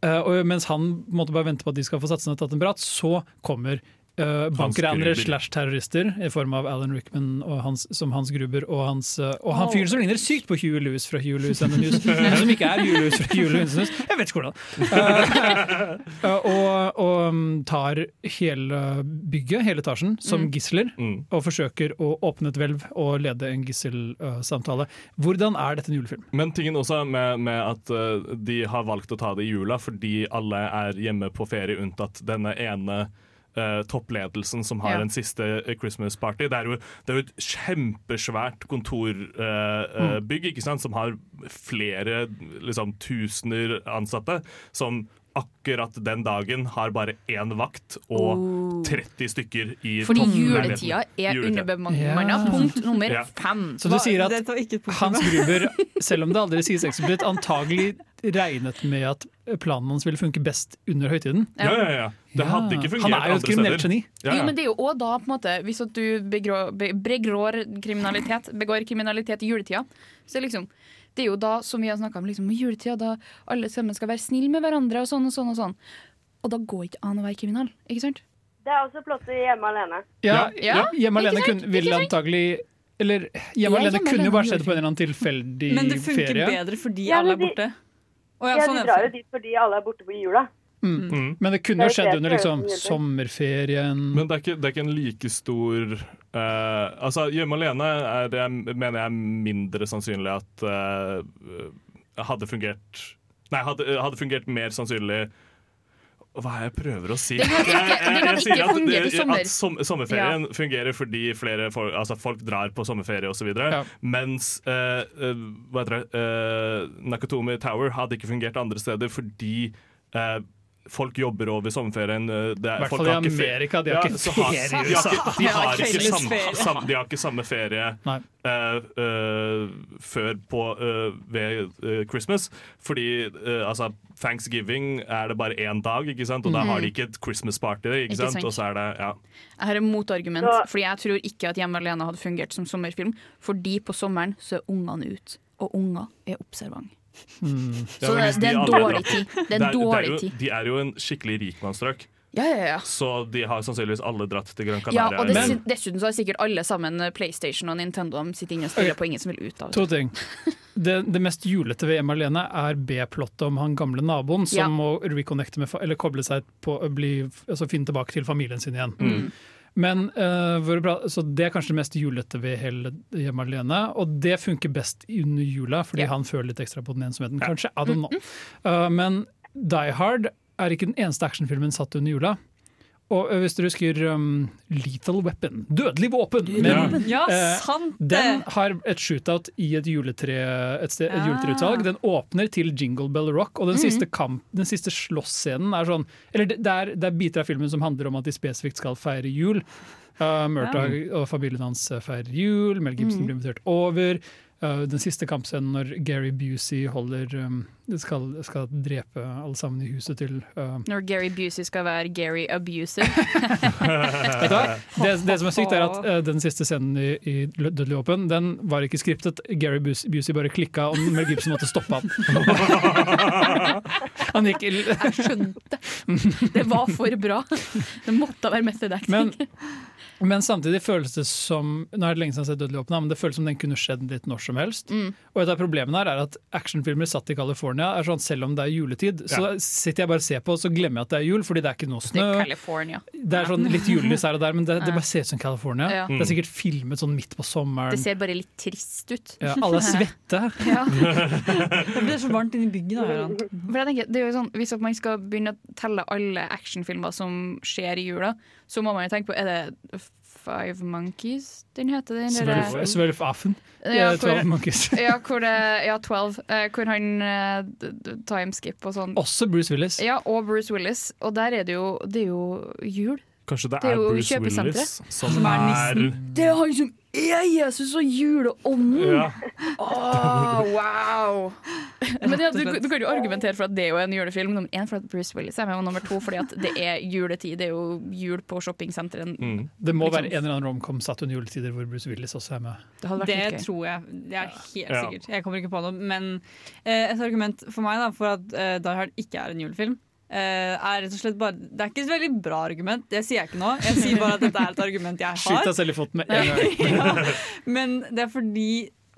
C: Eh, og mens han på en måte bare venter på at de skal få satt seg ned og tatt en prat, så kommer eh, bankranere
A: Gruber.
C: slash terrorister i form av Alan Rickman og hans, som Hans Gruber og, hans, eh, og han fyren som ligner sykt på Hugh Lewis fra Hugh Lewis and the News. Eller som ikke er Hugh Lewis fra Hugh Lewis and the News. Jeg vet ikke hvordan. Eh, og, og mm, tar hele bygget, hele etasjen, som gisler.
A: Mm.
C: Og forsøker å åpne et hvelv og lede en gisselsamtale. Hvordan er dette en julefilm?
A: Men tingen også med, med at eh, de har valgt å ta det i jula fordi alle er hjemme på ferie unntatt denne ene eh, toppledelsen som har
E: Ja.
A: en siste eh, Christmas party. Det er jo, det er jo et kjempesvært
E: Mm.
A: kontorbygg ikke sant? som har flere liksom, tusener ansatte. som akkurat den dagen har bare én vakt og 30 stykker i
E: Oh. Fordi
A: toppleiligheten.
E: juletida er
A: Juletida.
E: underbemanna.
C: Ja.
E: Punkt nummer
A: Ja.
E: fem.
C: Så du sier at
D: Dette var ikke et punkt.
C: Hans Gruber, selv om det aldri sies eksplisitt, antagelig regnet med at planen hans ville funke best under høytiden.
A: Ja, ja, ja. Det hadde ikke
C: Han
A: fungert
C: er jo et
A: andre steder.
C: kriminelt geni.
A: Ja, ja.
E: Jo, men det er jo også da, på en måte, hvis at du begrå, be, begrår kriminalitet, begår kriminalitet i juletida, så er liksom, det er jo da, som vi har snakka om, liksom, i juletida, da alle sammen skal være snille med hverandre og sånn og sånn og sånn. Og da går ikke an å være kriminal, ikke sant?
F: Det er også plottet i Hjemme alene.
C: Ja, ja,
E: Ja,
C: Hjemme
E: ikke
C: alene
E: sant?
C: kunne, ville
E: Ikke sant?
C: antagelig Eller
E: Ja,
C: Hjemme alene
E: Hjemme
C: kunne
E: alene
C: jo bare
E: gjorde
C: skjedd på en
E: det.
C: eller annen tilfeldig
D: Men det funker
C: ferie.
D: bedre fordi
F: Ja, men
D: alle er
F: de-
D: borte. Å, ja,
F: Ja,
D: sånn
F: de
D: er
F: drar
D: det.
F: jo dit fordi alle er borte på jula.
C: Men det kunne
F: Det
C: jo
F: er
C: skjedd
F: det
C: under
F: jeg
C: liksom,
F: føler.
C: sommerferien.
E: Mm.
A: Men det er ikke, det er ikke en like stor eh, Altså, Hjemme alene er, det jeg mener jeg er mindre sannsynlig at eh, hadde fungert Nei, hadde, eh, hadde fungert mer sannsynlig Hva er det jeg prøver å si?
E: Det kan ikke-
A: Jeg- jeg-
E: det kan
A: jeg sier
E: ikke
A: at
E: fungere i
A: det-
E: sommer.
A: At som, sommerferien fungerer fordi flere folk, altså folk drar på sommerferie osv.
C: Ja.
A: videre Mens eh, eh, hva heter det, eh, Nakatomi Tower hadde ikke fungert andre steder fordi eh, folk jobber over sommerferien. eh, Det
C: I
A: er,
C: hvert
A: folk
C: fall i
A: har ikke fe-
C: Amerika. De har
A: ja, så
C: ikke
A: har- de
C: ferie altså. i
A: har
C: USA.
A: ikke- De har ikke
D: Felles
A: samme,
D: ferie.
A: sam, de har ikke samme ferie
C: Nei.
A: eh, eh, før på eh, ved eh, Christmas, fordi eh, altså, Thanksgiving er det bare én dag, ikke sant? og da har de ikke et Christmas party. Ikke
E: Mhm. Ikke
A: sant?
E: sant.
A: Og så er det, ja.
E: Her er motargument,
F: Så-
E: fordi jeg tror ikke at Hjemme alene hadde fungert som sommerfilm, fordi på sommeren så er ungene ute, og unger er observante.
A: Ja,
E: Så
A: men
E: det,
A: hvis
E: det er
A: de
E: en
A: alle
E: dårlig
A: drar på-
E: tid. Det er
A: det
E: en
A: er
E: dårlig
A: jo,
E: tid.
A: de er jo en skikkelig rikmannsstrøk,
E: Ja, ja, ja.
A: så de har sannsynligvis alle dratt til Gran
E: Ja,
A: Canaria.
E: og det,
A: Men-
E: sy- Dessuten så har sikkert alle sammen PlayStation og Nintendo de sitter inne og spiller
C: Ok.
E: på ingen som vil ut av det.
C: To ting. Det, det mest julete ved Hjemme alene er B-plottet om han gamle naboen som
E: Ja.
C: må reconnecte med, fa- eller koble seg på å bli, altså finne tilbake til familien sin igjen.
E: Mm.
C: Men, eh, hvor bra, så Det er kanskje det mest julete ved hele Hjemme alene, og det funker best under jula, fordi
E: Ja. Mm-hmm.
C: han føler litt ekstra på den ensomheten. Kanskje, I don't know. Eh, men Die Hard er ikke den eneste actionfilmen satt under jula. Og eh, hvis dere husker um, Lethal Weapon, dødelig våpen,
A: Ja.
C: med
D: Ja,
C: Eh,
D: sant
C: den har et shootout i et, juletre, et, sted, et
E: Ah.
C: juletreutsalg. Den åpner til Jingle Bell Rock, og den siste, kamp, den siste slåssscenen er sånn Eller det, det, er, det er biter av filmen som handler om at de spesifikt skal feire jul. Uh, Murtagh og familien hans eh, feirer jul, Mel Gibson blir invitert over. Eh, den siste kampscenen når Gary Busey holder, um, skal, skal drepe alle sammen i huset til eh,
E: Når Gary Busey skal være Gary Abuser.
C: Vet du hva? Det, det som er sykt, er at eh, den siste scenen i, i Lø- Dødelig åpen Den var ikke skriptet. Gary Bus- Busey bare klikka, og Mel Gibson måtte stoppe han. han gikk i-
E: Jeg skjønte! Det var for bra. Det måtte være method
C: men,
E: acting.
C: men samtidig føles det som Nå er det lenge siden jeg har sett Dødelig åpen, da, men det føles som den kunne skjedd litt når som helst.
E: Mm.
C: Og et av problemene her er at actionfilmer satt i California er sånn selv om det er juletid, så
A: Ja.
C: sitter jeg bare og ser på, og så glemmer jeg at det er jul, fordi det er ikke noe
E: Det
C: snø.
E: er California.
C: Det er sånn litt julelys her og der, men det, det bare ser ut som California.
E: Ja.
C: Det er sikkert filmet sånn midt på sommeren.
E: Det ser bare litt trist ut.
C: Ja, alle er svette.
E: Ja.
D: Det blir så varmt inni bygget. da, Høran.
E: For jeg tenker, det er jo sånn, Hvis at man skal begynne å telle alle actionfilmer som skjer i jula, så må man jo tenke på Er det Five Monkeys den heter? Den der-
C: Svelf- Svelf Affen.
E: ja,
C: Eh,
E: hvor,
C: Twelve Monkeys.
E: ja, hvor det, ja, 12. eh, hvor han eh, d- d- timeskip og sånn.
C: Også Bruce Willis.
E: Ja, og Bruce Willis. Og der er det jo Det er jo jul.
A: Kanskje det
E: Det er
A: er
E: jo
A: Bruce
E: kjøpesenteret
A: Willis som,
D: som er
A: er
E: Det er han som er Jesus og juleånden!
A: ja.
E: Åh, wow! Men ja,
D: Rett og
E: du,
D: slett.
E: du kan jo argumentere for at det er jo en julefilm. Nummer én fordi at Bruce Willis er med, og nummer to fordi at det er juletid. Det er jo jul på shoppingsentrene.
A: Mm.
C: Det må
E: Liksom.
C: være en eller annen romcom satt under juletider hvor Bruce Willis også er med.
E: Det hadde vært
D: Det
E: litt gøy.
D: tror jeg. Det er helt
A: Ja.
D: sikkert. Jeg kommer ikke på noe. Men eh, et argument for meg da, for at eh, Die Hard ikke er en julefilm, eh, er rett og slett bare Det er ikke et veldig bra argument, det sier jeg ikke nå. Jeg sier bare at dette er et argument jeg
C: Skyt
D: har.
C: deg selv i foten med en gang.
D: ja. Men det er fordi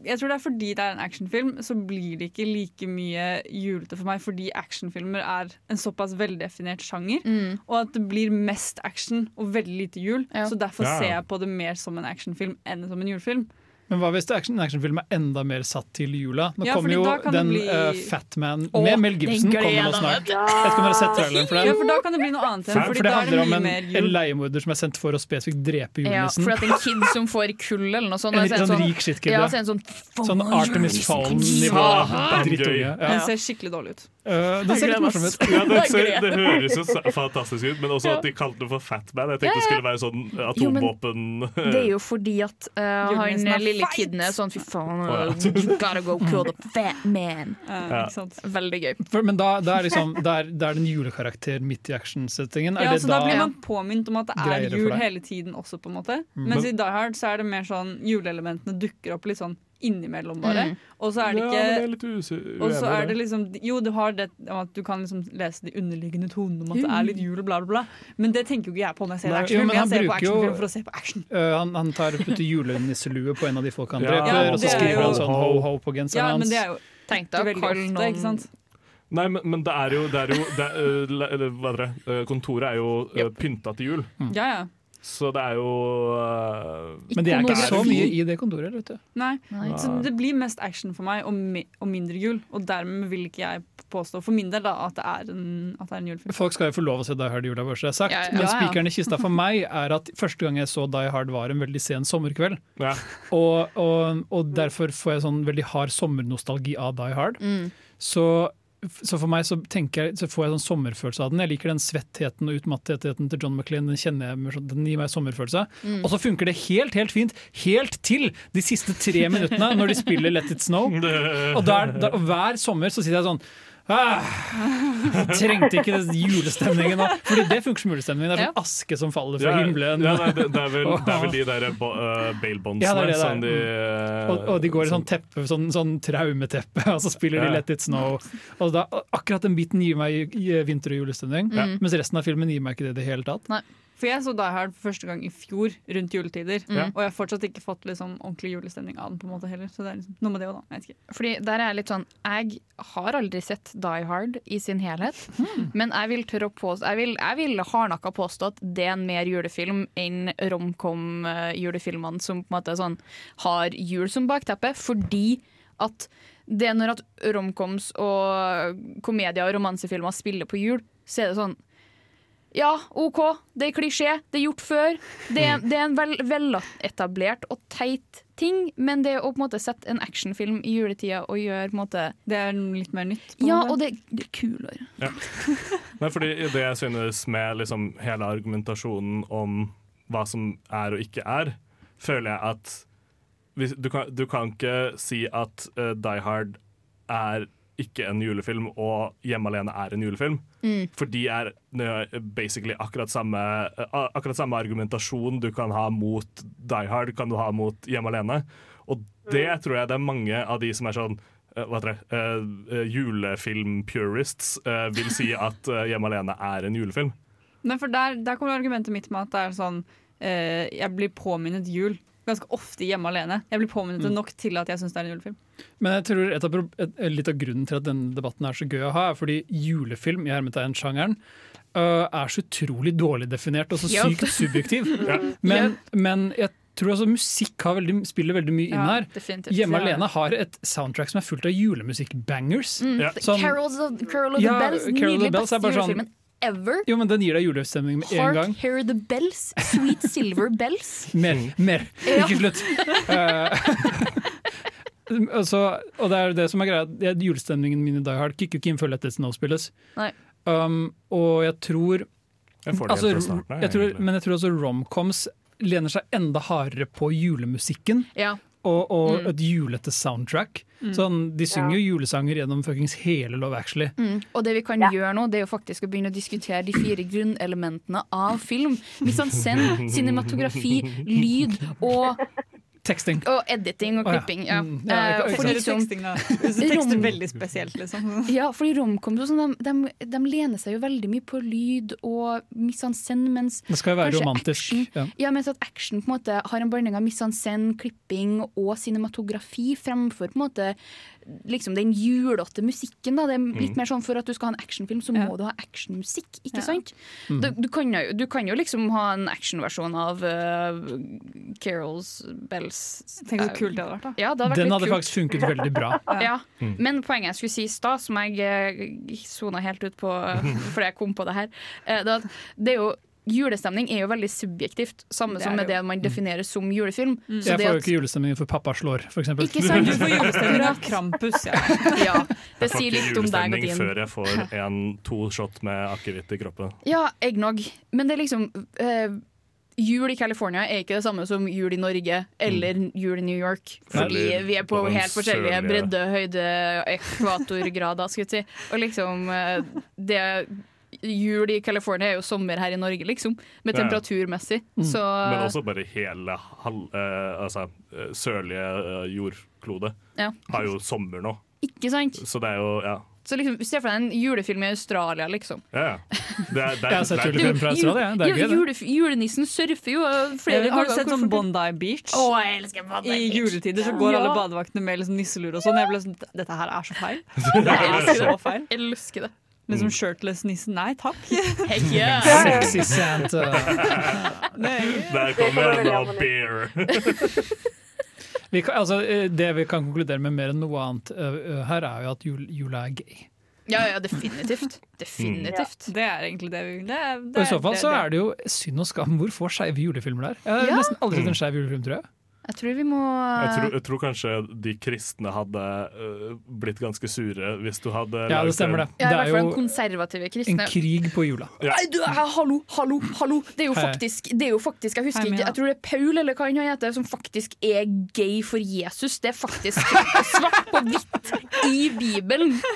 D: jeg tror det er fordi det er en actionfilm, så blir det ikke like mye julete for meg. Fordi actionfilmer er en såpass veldefinert sjanger. Og at det blir mest action og veldig lite jul.
E: Ja.
D: Så derfor
A: Ja, ja.
D: ser jeg på det mer som en actionfilm enn som en julefilm.
C: Men hva hvis det er action, en actionfilm er enda mer satt til jula? Nå
D: Ja,
C: kommer
D: fordi
C: jo
D: da kan det
C: den
D: bli-
C: eh, Fat Man
E: Åh,
C: med Mel
E: den
C: Gibson
E: gleder
C: kommer nå
E: jeg meg
C: snart.
E: til.
C: Jeg vet ikke om dere har sett traileren for
D: Ja,
C: den?
D: for da kan det bli noe annet igjen.
A: Fair,
D: Fordi
C: For det
D: da er det
C: handler om
D: mye
C: en,
D: mer
C: en
D: jul.
C: leiemorder som er sendt for å spesifikt drepe
E: Ja,
C: julenissen.
E: for at en kid som får kull eller noe sånt
C: En
E: og
C: litt
E: så er det
C: sånn rik shitkid,
E: Ja,
C: ja.
E: så er det en sånn
C: Sånn Artemis Fowl-nivå.
A: Satan, gøy.
C: Drittunge. Ja.
D: Den ser skikkelig dårlig ut.
C: Eh, det ser litt morsomt ut.
A: Ja, det, ser, det høres jo så fantastisk ut, men også at de kalte det for Fatman. Jeg tenkte det skulle være sånn
E: Jo, men-
A: atomvåpen
E: Det er jo fordi at eh, han
D: Julenissen er
E: lille
D: feit.
E: kiden er sånn fy faen,
A: Å, ja.
E: you gotta go kill the fat man.
D: Eh,
A: Ja.
D: ikke sant?
E: Veldig gøy.
C: For, men da, da, er liksom, da, er, da er det en julekarakter midt i action-settingen. Er
D: Ja,
C: det
D: så da blir man påminnet om at det
C: Greier det
D: er
C: for
D: jul
C: deg. Mm.
D: hele tiden også, på en måte. Mens i Die Hard så er det mer sånn juleelementene dukker opp litt sånn innimellom, bare. Og så er det
A: Ja, men jeg
D: ikke
A: er litt use-
D: og så
A: uenig
D: er
A: i
D: det liksom Jo, du har det om at du kan liksom lese de underliggende tonene om at det er litt jul og bla, bla, bla, men det tenker jo ikke jeg på når jeg ser
C: Mm. Nei, jo,
D: en actionfilm.
C: men han
D: Jeg ser på
C: bruker jo-
D: actionfilm for å se på action.
C: Øh, han, han tar og putter julenisselue på en av de folk han
A: Ja,
C: dreper,
D: Ja,
C: og så
D: det er
C: skriver
D: jo-
C: han sånn ho-ho på genseren
D: Ja, men
C: hans.
D: det er jo
E: Tenk deg å
D: veldig
E: kalle
D: ofte, ikke
E: noen
D: sant.
A: Nei, men, men det er jo, det er jo det er, øh, le- eller hva heter det, øh, Kontoret er jo øh, pynta til jul,
C: Mm.
D: Ja, ja.
A: så det er jo øh,
C: Men det er ikke
A: Ikonografi.
C: så mye i det kontoret. vet du.
D: Nei.
E: Nei.
D: Så det blir mest action for meg og, mi og mindre jul. Og dermed vil ikke jeg påstå for min del da, at, det er en, at det er en julefilm.
C: Folk skal jo få lov å se Die Hard i jula, bare så det er sagt.
E: Ja, ja.
C: Men
D: Ja, ja.
C: spikeren i kista for meg er at første gang jeg så Die Hard var en veldig sen sommerkveld.
A: ja.
C: Og, og, og derfor får jeg sånn veldig hard sommernostalgi av Die Hard. Så, så for meg så, tenker jeg, så får jeg sånn sommerfølelse av den. Jeg liker den svettheten og utmattetheten til John McLean. Den kjenner jeg, med sånn- den gir meg sommerfølelse. Og så funker det helt helt fint helt til de siste tre minuttene når de spiller Let It Snow. Og, der, der, og hver sommer så sitter jeg sånn Ah, trengte ikke den julestemningen nå. Fordi det funker som julestemning. Det er sånn aske som faller fra
A: Ja,
C: himmelen.
A: ja, nei, det, det, er vel, det er vel de der bo, øh, bailbondsene
C: Ja, det er det det er.
A: som de øh,
C: Og, og de går i sånn teppe, sånn, sånn traumeteppe, og så spiller
A: Ja.
C: de Let It Snow. Og da, akkurat den biten gir meg ju- gir vinter- og julestemning, mens resten av filmen gir meg ikke det i det hele tatt.
D: For jeg så Die Hard for første gang i fjor, rundt juletider.
A: Ja.
D: Og jeg har fortsatt ikke fått liksom, ordentlig julestemning av den. på en måte heller Så det er liksom, noe med det òg, da. Jeg vet ikke.
E: Fordi der er jeg litt sånn Jeg har aldri sett Die Hard i sin helhet, men jeg vil tørre å påstå Jeg vil, jeg vil hardnakka påstå at det er en mer julefilm enn romcom-julefilmene som på en måte er sånn har jul som bakteppe, fordi at det er når at romcoms og komedier og romansefilmer spiller på jul, så er det sånn ja, OK, det er klisjé, det er gjort før. Det er, det er en vel, veletablert og teit ting, men det å på en måte sette en actionfilm i juletida og gjøre på en måte
D: Det er litt mer nytt. på en
E: Ja,
D: måte.
E: og det, det er kulere.
A: Nei, fordi det jeg synes med liksom hele argumentasjonen om hva som er og ikke er, føler jeg at hvis, du, kan, du kan ikke si at eh, Die Hard er ikke en julefilm, og Hjemme alene er en julefilm. For de er nø- basically akkurat samme, eh, a- akkurat samme argumentasjon du kan ha mot Die Hard, kan du ha mot Hjemme alene. Og det tror jeg det er mange av de som er sånn eh, hva heter det? eh, eh, Julefilm-purists eh, vil si at eh, Hjemme alene er en julefilm.
D: Nei, for der, der kommer argumentet mitt med at det er sånn eh, Jeg blir påminnet jul ganske ofte hjemme alene. Jeg blir påminnet det nok til at jeg syns det er en julefilm.
C: Men jeg tror et av, prob- et, et- litt av grunnen til at denne debatten er så gøy å ha, er fordi julefilm i hermetegn-sjangeren øh, er så utrolig dårlig definert og så
E: Ja.
C: sykt subjektiv. Men, men jeg tror altså musikk har veldig, spiller veldig mye inn her.
E: definitivt.
C: Hjemme
D: Ja.
C: alene har et soundtrack som er fullt av julemusikk-bangers.
E: Mm.
A: Ja.
C: Som-
E: Carols of, Carol of
C: Ja,
E: the Bells,
C: Carol of the
E: nydelig
C: Bells
E: beste
C: er bare sånn-
E: julefilmen ever.
C: Jo, men Den gir deg julestemning med en
E: Hark,
C: gang.
E: Hear the Bells, Sweet Silver Bells.
C: Mer,
A: Mm.
C: mer.
E: Ja.
C: Ikke slutt. Eh, altså, og det er det som er greia. det er Julestemningen min i Die Hard kicker ikke inn før Let It Snow spilles.
E: Nei.
C: Um, og jeg tror
A: Jeg får det
C: Altså,
A: helt fra starten.
C: jeg tror,
A: egentlig.
C: men jeg tror også romcoms lener seg enda hardere på julemusikken
E: Ja.
C: og, og
E: Mm.
C: et julete soundtrack. Sånn, de synger jo julesanger gjennom fuckings hele Love Actually.
E: Mm. Og det vi kan gjøre nå, det er jo faktisk å begynne å diskutere de fire grunnelementene av film. Misansen, cinematografi, lyd og,
C: Teksting.
E: og editing og
C: Å, ja.
E: klipping. Ja.
C: Mm. Ja, jeg-
E: Eh,
C: jeg-
E: fordi som-
D: Hvis du tekster veldig spesielt, liksom.
E: Ja, fordi romcoms og sånn, de, de, de lener seg jo veldig mye på lyd og misansen, mens
C: Det skal jo være
E: Kanskje
C: romantisk. Ja.
E: Ja, mens at action på en måte har en blanding av misansen, klipping og cinematografi fremfor på en måte liksom den julete musikken. Da. Det er
C: Mm.
E: litt mer sånn For at du skal ha en actionfilm, så
D: Ja.
E: må du ha actionmusikk.
D: Ja.
E: Ikke sant?
C: Mm.
E: Du, du, kan jo, du kan jo liksom ha en actionversjon av eh, Carols Bells
D: Tenk så kult det hadde vært, da.
E: Ja, det hadde vært
C: Den
E: litt
C: hadde
E: kult.
C: faktisk funket veldig bra.
E: Ja.
A: Mm.
E: Men poenget jeg skulle si i stad, som jeg eh, sona helt ut på eh, fordi jeg kom på det her, eh, det, er at det er jo Julestemning er jo veldig subjektivt, samme
D: Det
E: som
D: er Mm. det
E: med det
A: Mm.
E: man definerer som julefilm. Så
C: Jeg
E: det
C: får jo
E: at-
C: ikke julestemningen for pappa slår, for eksempel.
E: Ikke sant?
D: Du får julestemning av Krampus, ja.
E: Ja, det
A: Jeg får
E: sier
A: ikke
E: litt om deg og
A: julestemning
E: din.
A: før jeg får en, to shot med akevitt i kroppen.
E: Ja, eggnog. Men det er liksom eh, Jul i California er ikke det samme som jul i Norge eller
C: Mm.
E: jul i New York. Fordi
A: Eller
E: vi er på,
A: på den
E: helt forskjellige
A: sørlige-
E: bredde, høyde, ekvatorgrader, skal vi si. Og liksom eh, det Jul i California er jo sommer her i Norge, liksom. Med
A: Ja, ja.
E: temperaturmessig.
C: Mm.
E: Så
A: Men også bare hele halv, eh, altså, eh, sørlige eh, jordklode
E: ja.
A: har jo sommer nå.
E: Ikke sant?
A: Så det er jo Ja.
E: Så liksom, Se for deg en julefilm i Australia, liksom.
A: ja, ja. Det er, det
C: Jeg
A: er,
C: har sett
A: det er-
C: julefilm fra Australia, det er
E: Ju-
C: gøy, det.
E: julef- julenissen surfer jo eh, flere
D: Har du
E: dager
D: sett sånn
E: hvorfor-
D: Bondi Beach?
E: Å, jeg elsker Bondi
D: I
E: Beach.
D: juletider så går
E: Ja.
D: alle badevaktene med liksom nisselur og sånn. Jeg ble sånn Dette her er så feil. Det er
E: elsker
D: så feil.
E: Jeg elsker det.
C: Mm.
D: Liksom shirtless-nissen. Nei takk.
E: Heck yeah.
C: Sexy Santa.
A: Der kommer en og beer!
C: Vi kan, altså, eh, det vi kan konkludere med mer enn noe annet eh, eh, her, er jo at jul, jula er gay.
E: Ja, ja, definitivt. Definitivt.
D: Det er egentlig det vi det er,
C: Og I så fall så er det jo synd og skam hvor få skeive julefilmer det er. Jeg har
E: Ja.
C: nesten aldri sett en skeiv julefilm, tror jeg.
E: Jeg tror vi må
A: Jeg tror, jeg tror kanskje de kristne hadde eh, blitt ganske sure hvis du hadde
C: Ja,
A: laget
C: det stemmer det.
E: ja,
C: Det
E: I hvert
C: er
E: fall
C: jo
E: den konservative
C: en
E: kristne.
C: krig på jula.
E: Nei, du, eh, hallo, hallo, hallo! Det er jo
C: Hei.
E: faktisk, det er jo faktisk Jeg husker
D: Hei,
E: ikke,
D: Mia.
E: jeg tror det er Paul eller hva han heter, som faktisk er gay for Jesus. Det er faktisk svart på hvitt i Bibelen!
A: En,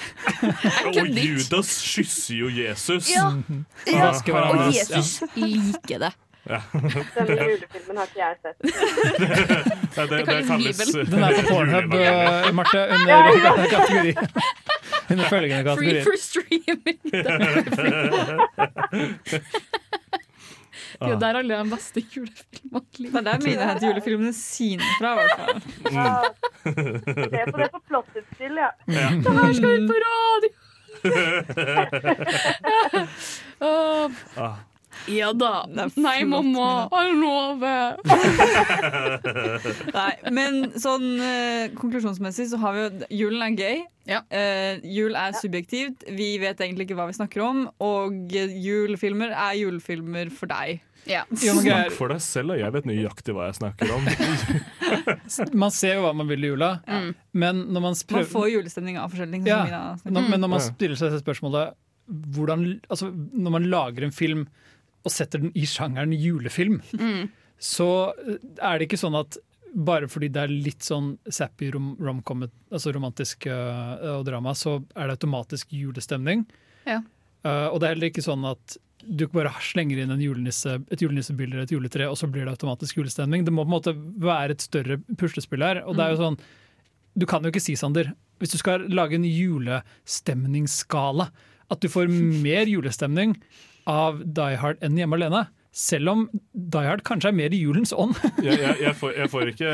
A: og
E: kødder ikke.
A: Judas kysser jo Jesus!
E: Ja, ja.
C: Raske
E: Og
C: hverandres, ja.
E: Jesus liker det.
F: Den julefilmen har ikke jeg sett.
A: Nei, det,
E: Det kalles Bibelen.
C: Den er på Pornhub,
A: juleevangeliet.
C: eh, Marte, under kategori. Under følgende
E: Free
C: kategori.
E: for streaming! Det er
C: Ah.
E: jo der alle de beste julefilmene
D: Det
E: ligger.
D: er der mine henter julefilmene sine fra. i hvert fall.
F: Ah, Se på det på plottet til, ja.
E: Det her skal ut på radio! Åh.
A: Ah.
E: ja da.
D: Det er
E: Nei,
D: flott,
E: mamma. Jeg lover.
D: Nei, men sånn eh, konklusjonsmessig så har vi jo Julen er gøy.
E: Ja.
D: Eh, jul er subjektivt. Vi vet egentlig ikke hva vi snakker om. Og eh, julefilmer er julefilmer for deg.
E: Ja.
C: Jo, men greier,
A: Snakk for deg selv, og jeg vet nøyaktig hva jeg snakker om.
C: man ser jo hva man vil i jula, men når man,
D: Man
C: prøver,
D: får julestemning av forskjellige ting.
C: Ja.
D: som Mina snakket om.
C: når, men når man
A: Ja.
C: stiller seg det spørsmålet hvordan, altså, Når man lager en film og setter den i sjangeren julefilm, så er det ikke sånn at bare fordi det er litt sånn sappy rom romcom, altså romantisk øh, og drama, så er det automatisk julestemning.
E: Ja.
C: Eh, og det er heller ikke sånn at du ikke bare slenger inn en julenisse, et julenissebilde eller et juletre, og så blir det automatisk julestemning. Det må på en måte være et større puslespill her. Og det er jo sånn, du kan jo ikke si, Sander, hvis du skal lage en julestemningsskala, at du får mer julestemning av Die Hard enn Hjemme alene. Selv om Die Hard kanskje er mer i julens ånd.
A: Jeg, jeg, jeg, får, jeg får ikke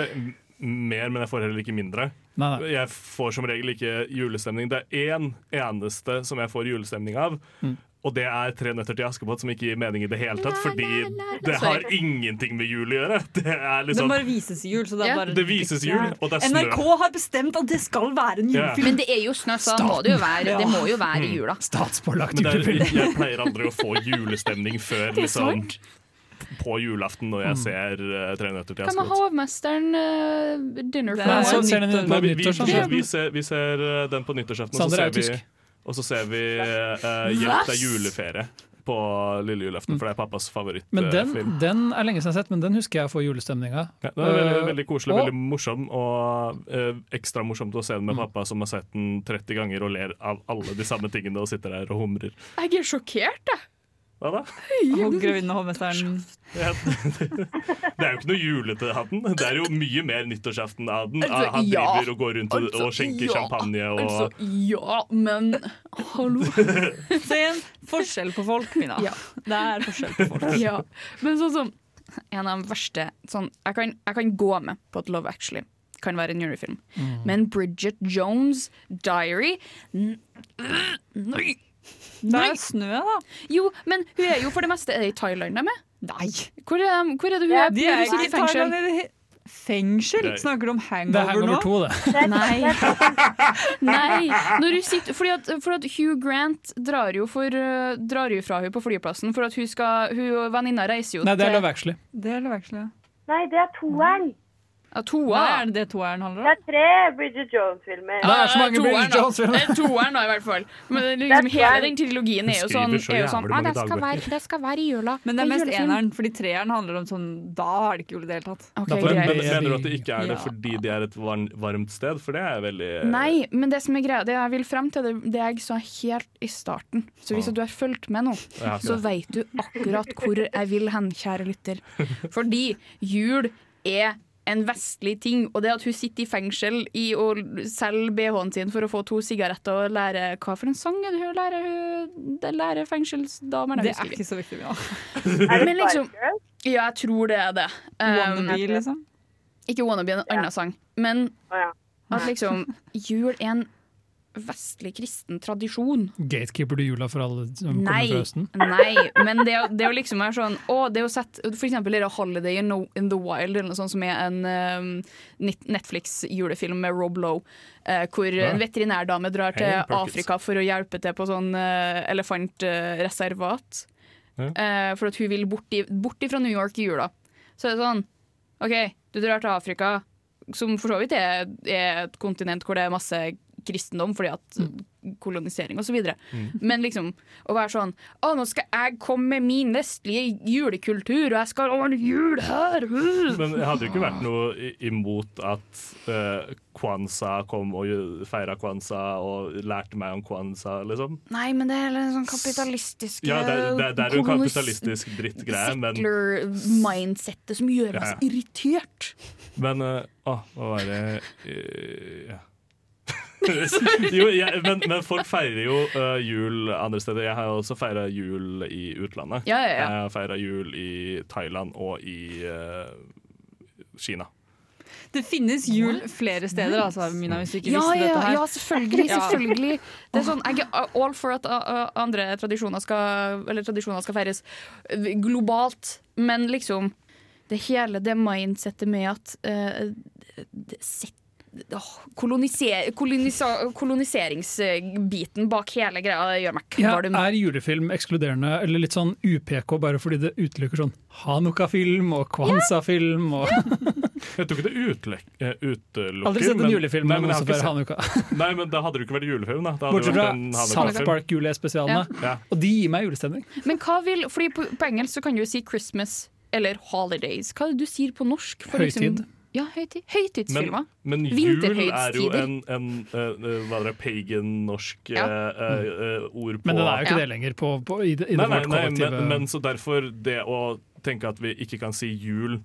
A: mer, men jeg får heller ikke mindre.
C: Nei, nei.
A: Jeg får som regel ikke julestemning. Det er én eneste som jeg får julestemning av.
C: Mm.
A: Og det er Tre nøtter til Askepott, som ikke gir mening i det hele tatt. Fordi det har ingenting med jul å gjøre. Det er
D: Den
A: liksom
D: bare vises i jul. Så det,
E: Ja.
D: er bare
A: Det vises i jul, og det er snø.
D: NRK har bestemt at det skal være en
A: Ja.
D: julefilm.
E: Men det er jo snø, så da må det jo være, det må jo være i jula.
C: Statspålagt
A: Men det er,
C: julebilde.
A: jeg pleier aldri å få julestemning før liksom, på julaften når
C: Mm.
A: jeg ser eh, Tre nøtter til
E: Hva med
A: Askepott.
E: Hovmesteren eh, Dinner
D: Det
E: for
D: er
E: One?
C: Så
D: sånn-
C: ser den
A: Nei,
C: på
A: vi, vi,
C: nyttår, sånn.
A: vi, vi, ser, vi ser eh, den på nyttårsaften, og så
C: Sander er
A: ser vi,
C: tysk.
A: og så ser vi eh, Hjelp deg juleferie på lille julaften, for det er pappas
C: Mm. Men den,
A: favorittfilm.
C: den er lenge siden jeg har sett, men den husker jeg å få julestemning av.
A: Ja, den er veldig,
C: Eh,
A: veldig koselig,
C: og-
A: veldig morsom, og eh, ekstra morsomt å se den
C: Mm.
A: med pappa som har sett den 30 ganger og ler av alle de samme tingene og sitter der og humrer.
E: Jeg er sjokkert, jeg.
A: Hva da?
D: Og Grevinnen og hovmesteren.
A: Ja, Det er jo ikke noe julete av den. Det er jo mye mer nyttårsaften av den.
E: Altså,
A: Han
E: ja.
A: driver og går rundt og, og skjenker champagne og
E: Altså, ja, men hallo.
D: Se en forskjell på folk, Mina.
E: Ja.
D: Det er forskjell på folk.
E: ja. Men sånn som En av de verste sånn, jeg, kan, jeg kan gå med på at Love Actually kan være en julefilm, men Bridget Jones' Diary n- Nei!
D: Det
E: Nei.
D: er snø, da.
E: Jo, men hun er jo for det meste Er det i Thailand de er?
D: Nei.
E: Hvor er, hvor er det hun
F: Ja,
E: er?
D: De er
E: Hun
D: ikke
E: sitter
D: i
E: i fengsel.
D: Thailand i det he- Fengsel?
A: Nei.
D: Snakker du om
C: Det er
D: hangover,
C: Hangover
D: nå?
C: 2, det.
E: Nei. Nei. Når hun sitter, fordi, at, fordi at Hugh Grant drar jo, for, eh, drar jo fra henne på flyplassen for at hun skal Hun og venninna reiser jo
C: Nei, det er
E: til
C: Love Actually.
D: Det er Love Actually.
F: Nei, det er toeren.
E: Ja, toa.
D: Hva er det det toeren handler
F: Det
D: om?
F: er tre Bridget Jones-filmer.
C: Det er så mange
E: toeren,
C: Bridget
E: da.
C: Jones-filmer.
E: Det er toeren, da, i hvert fall. Men det er liksom,
F: Det er
E: hele
F: toeren.
E: den trilogien er jo
A: Hun
E: sånn,
A: skriver så
E: er jo
A: jævlig
E: sånn ah,
A: mange
E: det, skal
A: dagbøker."
E: være, det skal være i jula.
D: Men det er mest
E: julefilm."
D: eneren, fordi treeren handler om sånn Da er det ikke jul i det hele tatt.
E: Ok,
C: Da får
A: men,
C: jeg-
E: greit.
A: men mener du at det ikke er det
D: Ja.
A: fordi de er et varm, varmt sted? For det er veldig
E: Nei, men det som er greia, det jeg vil frem til, det, det jeg sa helt i starten. Så
C: Ah.
E: hvis du har fulgt med nå,
A: Ja,
E: så veit du akkurat hvor jeg vil hen, kjære lytter. Fordi jul er en vestlig ting, og det at hun sitter i fengsel i å selge BH-en sin for å få to sigaretter og lære Hva for en sang er det hun lærer? Hun det lærer fengselsdamer?
D: Det
E: jeg
D: er
E: husker ikke.
D: ikke så viktig. Ja.
F: Er det
E: men liksom-
F: Spice Girls?
E: Ja, jeg tror det er det. Um,
D: Wannabe, liksom.
E: ikke Wannabe, en annen sang. Men
F: Å, ja.
E: at liksom jul er en vestlig kristen tradisjon.
C: Gatekeeper du jula for alle som
E: Nei,
C: kommer fra høsten?
E: nei, men det, å- det å liksom være sånn å, det å sette For eksempel det der Holiday in, No- in the Wild, eller noe sånt som er en um, net- Netflix-julefilm med Rob Lowe, eh, hvor
A: Ja.
E: en veterinærdame drar til
A: Hey, Perkins.
E: Afrika for å hjelpe til på sånn eh, elefantreservat.
A: Ja.
E: Eh, for at hun vil bort, i, bort ifra New York i jula. Så er det sånn OK, du drar til Afrika, som for så vidt er, er et kontinent hvor det er masse kristendom fordi at
A: Mm.
E: kolonisering osv. videre Men liksom å være sånn Å, nå skal jeg komme med min vestlige julekultur, og jeg skal ordne jul her! uh!»
A: Men jeg hadde jo ikke vært noe i- imot at uh, Kwanza kom og feira Kwanza og lærte meg om Kwanza, liksom.
E: Nei, men det er en sånn kapitalistisk eh,
A: Ja, det, er- det, er- det er jo en
E: kolonis-
A: kapitalistisk drittgreie, men,
E: Settler-mindsettet som gjør meg
A: Ja, ja.
E: så irritert.
A: men eh, Å, hva var det eh, ja. jo, jeg, men, men folk feirer jo eh, jul andre steder. Jeg har jo også feira jul i utlandet.
E: Ja, ja, ja.
A: Jeg har feira jul i Thailand og i eh, Kina.
D: Det finnes jul flere steder, altså, Mina, hvis du ikke
E: Ja,
D: visste
E: ja,
D: dette her.
E: ja, selvfølgelig.
D: Ja.
E: selvfølgelig. Det er sånn, jeg er all for at uh, uh, andre tradisjoner skal, eller tradisjoner skal feires uh, globalt, men liksom eh, det hele det mindsettet med at uh, det set, åh, koloniser, kolonisa, koloniseringsbiten bak hele greia gjør meg
C: Ja,
E: kvalm.
C: er julefilm ekskluderende eller litt sånn UPK bare fordi det utelukker sånn Hanukka-film og Kwanza-film og
A: Jeg tror ikke det utelek- eh, utelukker
C: Aldri sett en
A: men-
C: julefilm
A: Nei, men,
C: med noen
A: jeg har
C: som
A: ikke sett-
C: bare Hanukka.
A: nei, men da hadde det ikke vært julefilm. Da. Da hadde det
C: Bortsett fra
A: vært en
C: South
A: Hanukka-film.
C: Park julespesialene.
A: Ja.
C: Og de gir meg julestemning.
E: Men hva vil, fordi på, på engelsk så kan du jo si Christmas eller holidays. Hva er det du sier på norsk? For liksom-
C: Høytid.
E: ja, høytid.
A: Men,
E: Høytidsfilmer.
A: men jul er jo
E: Vinterhøytidstider.
A: en, en eh, eh, hva er det, pagan-norsk
E: Ja.
A: eh, eh, eh, ord på
C: Mm. Men den er jo ikke
E: Ja.
C: det lenger på, på, i, det- i
A: nei,
C: det
A: nei,
C: vårt
A: nei,
C: kollektive
A: men, men så derfor det å tenke at vi ikke kan si jul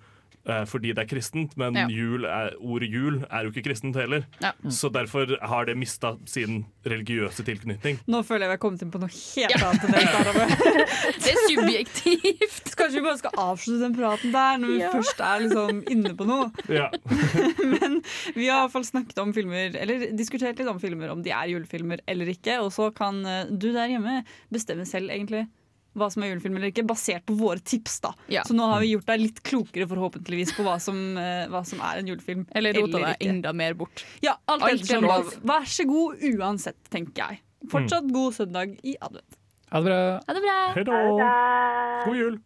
A: eh, fordi det er kristent, men
E: Ja.
A: jul er, ordet jul er jo ikke kristent heller.
E: Ja.
C: Mm.
A: Så derfor har det mista sin religiøse tilknytning.
D: Nå føler jeg vi har kommet inn på noe helt annet. enn det vi snakker om.
E: Det er subjektivt.
D: Så Kanskje vi bare skal avslutte den praten der, når vi først er liksom inne på noe.
A: Ja.
D: Vi har i hvert fall snakket om filmer, eller diskutert litt om filmer, om de er julefilmer eller ikke. Og så kan eh, du der hjemme bestemme selv, egentlig. Hva som er julefilm eller ikke, basert på våre tips. da
E: Ja.
D: Så nå har vi gjort deg litt klokere, forhåpentligvis, på hva som, eh, hva som er en julefilm.
E: Eller rota deg
D: ikke.
E: enda mer bort.
D: Ja, alt
E: Alt er
D: ettersom
E: lov.
D: lov. Vær så god uansett, tenker
E: Mm.
D: jeg. Fortsatt god søndag i advent.
C: Ha det bra.
E: Ha det bra.
A: Hei da!
F: Ha det.
A: God jul!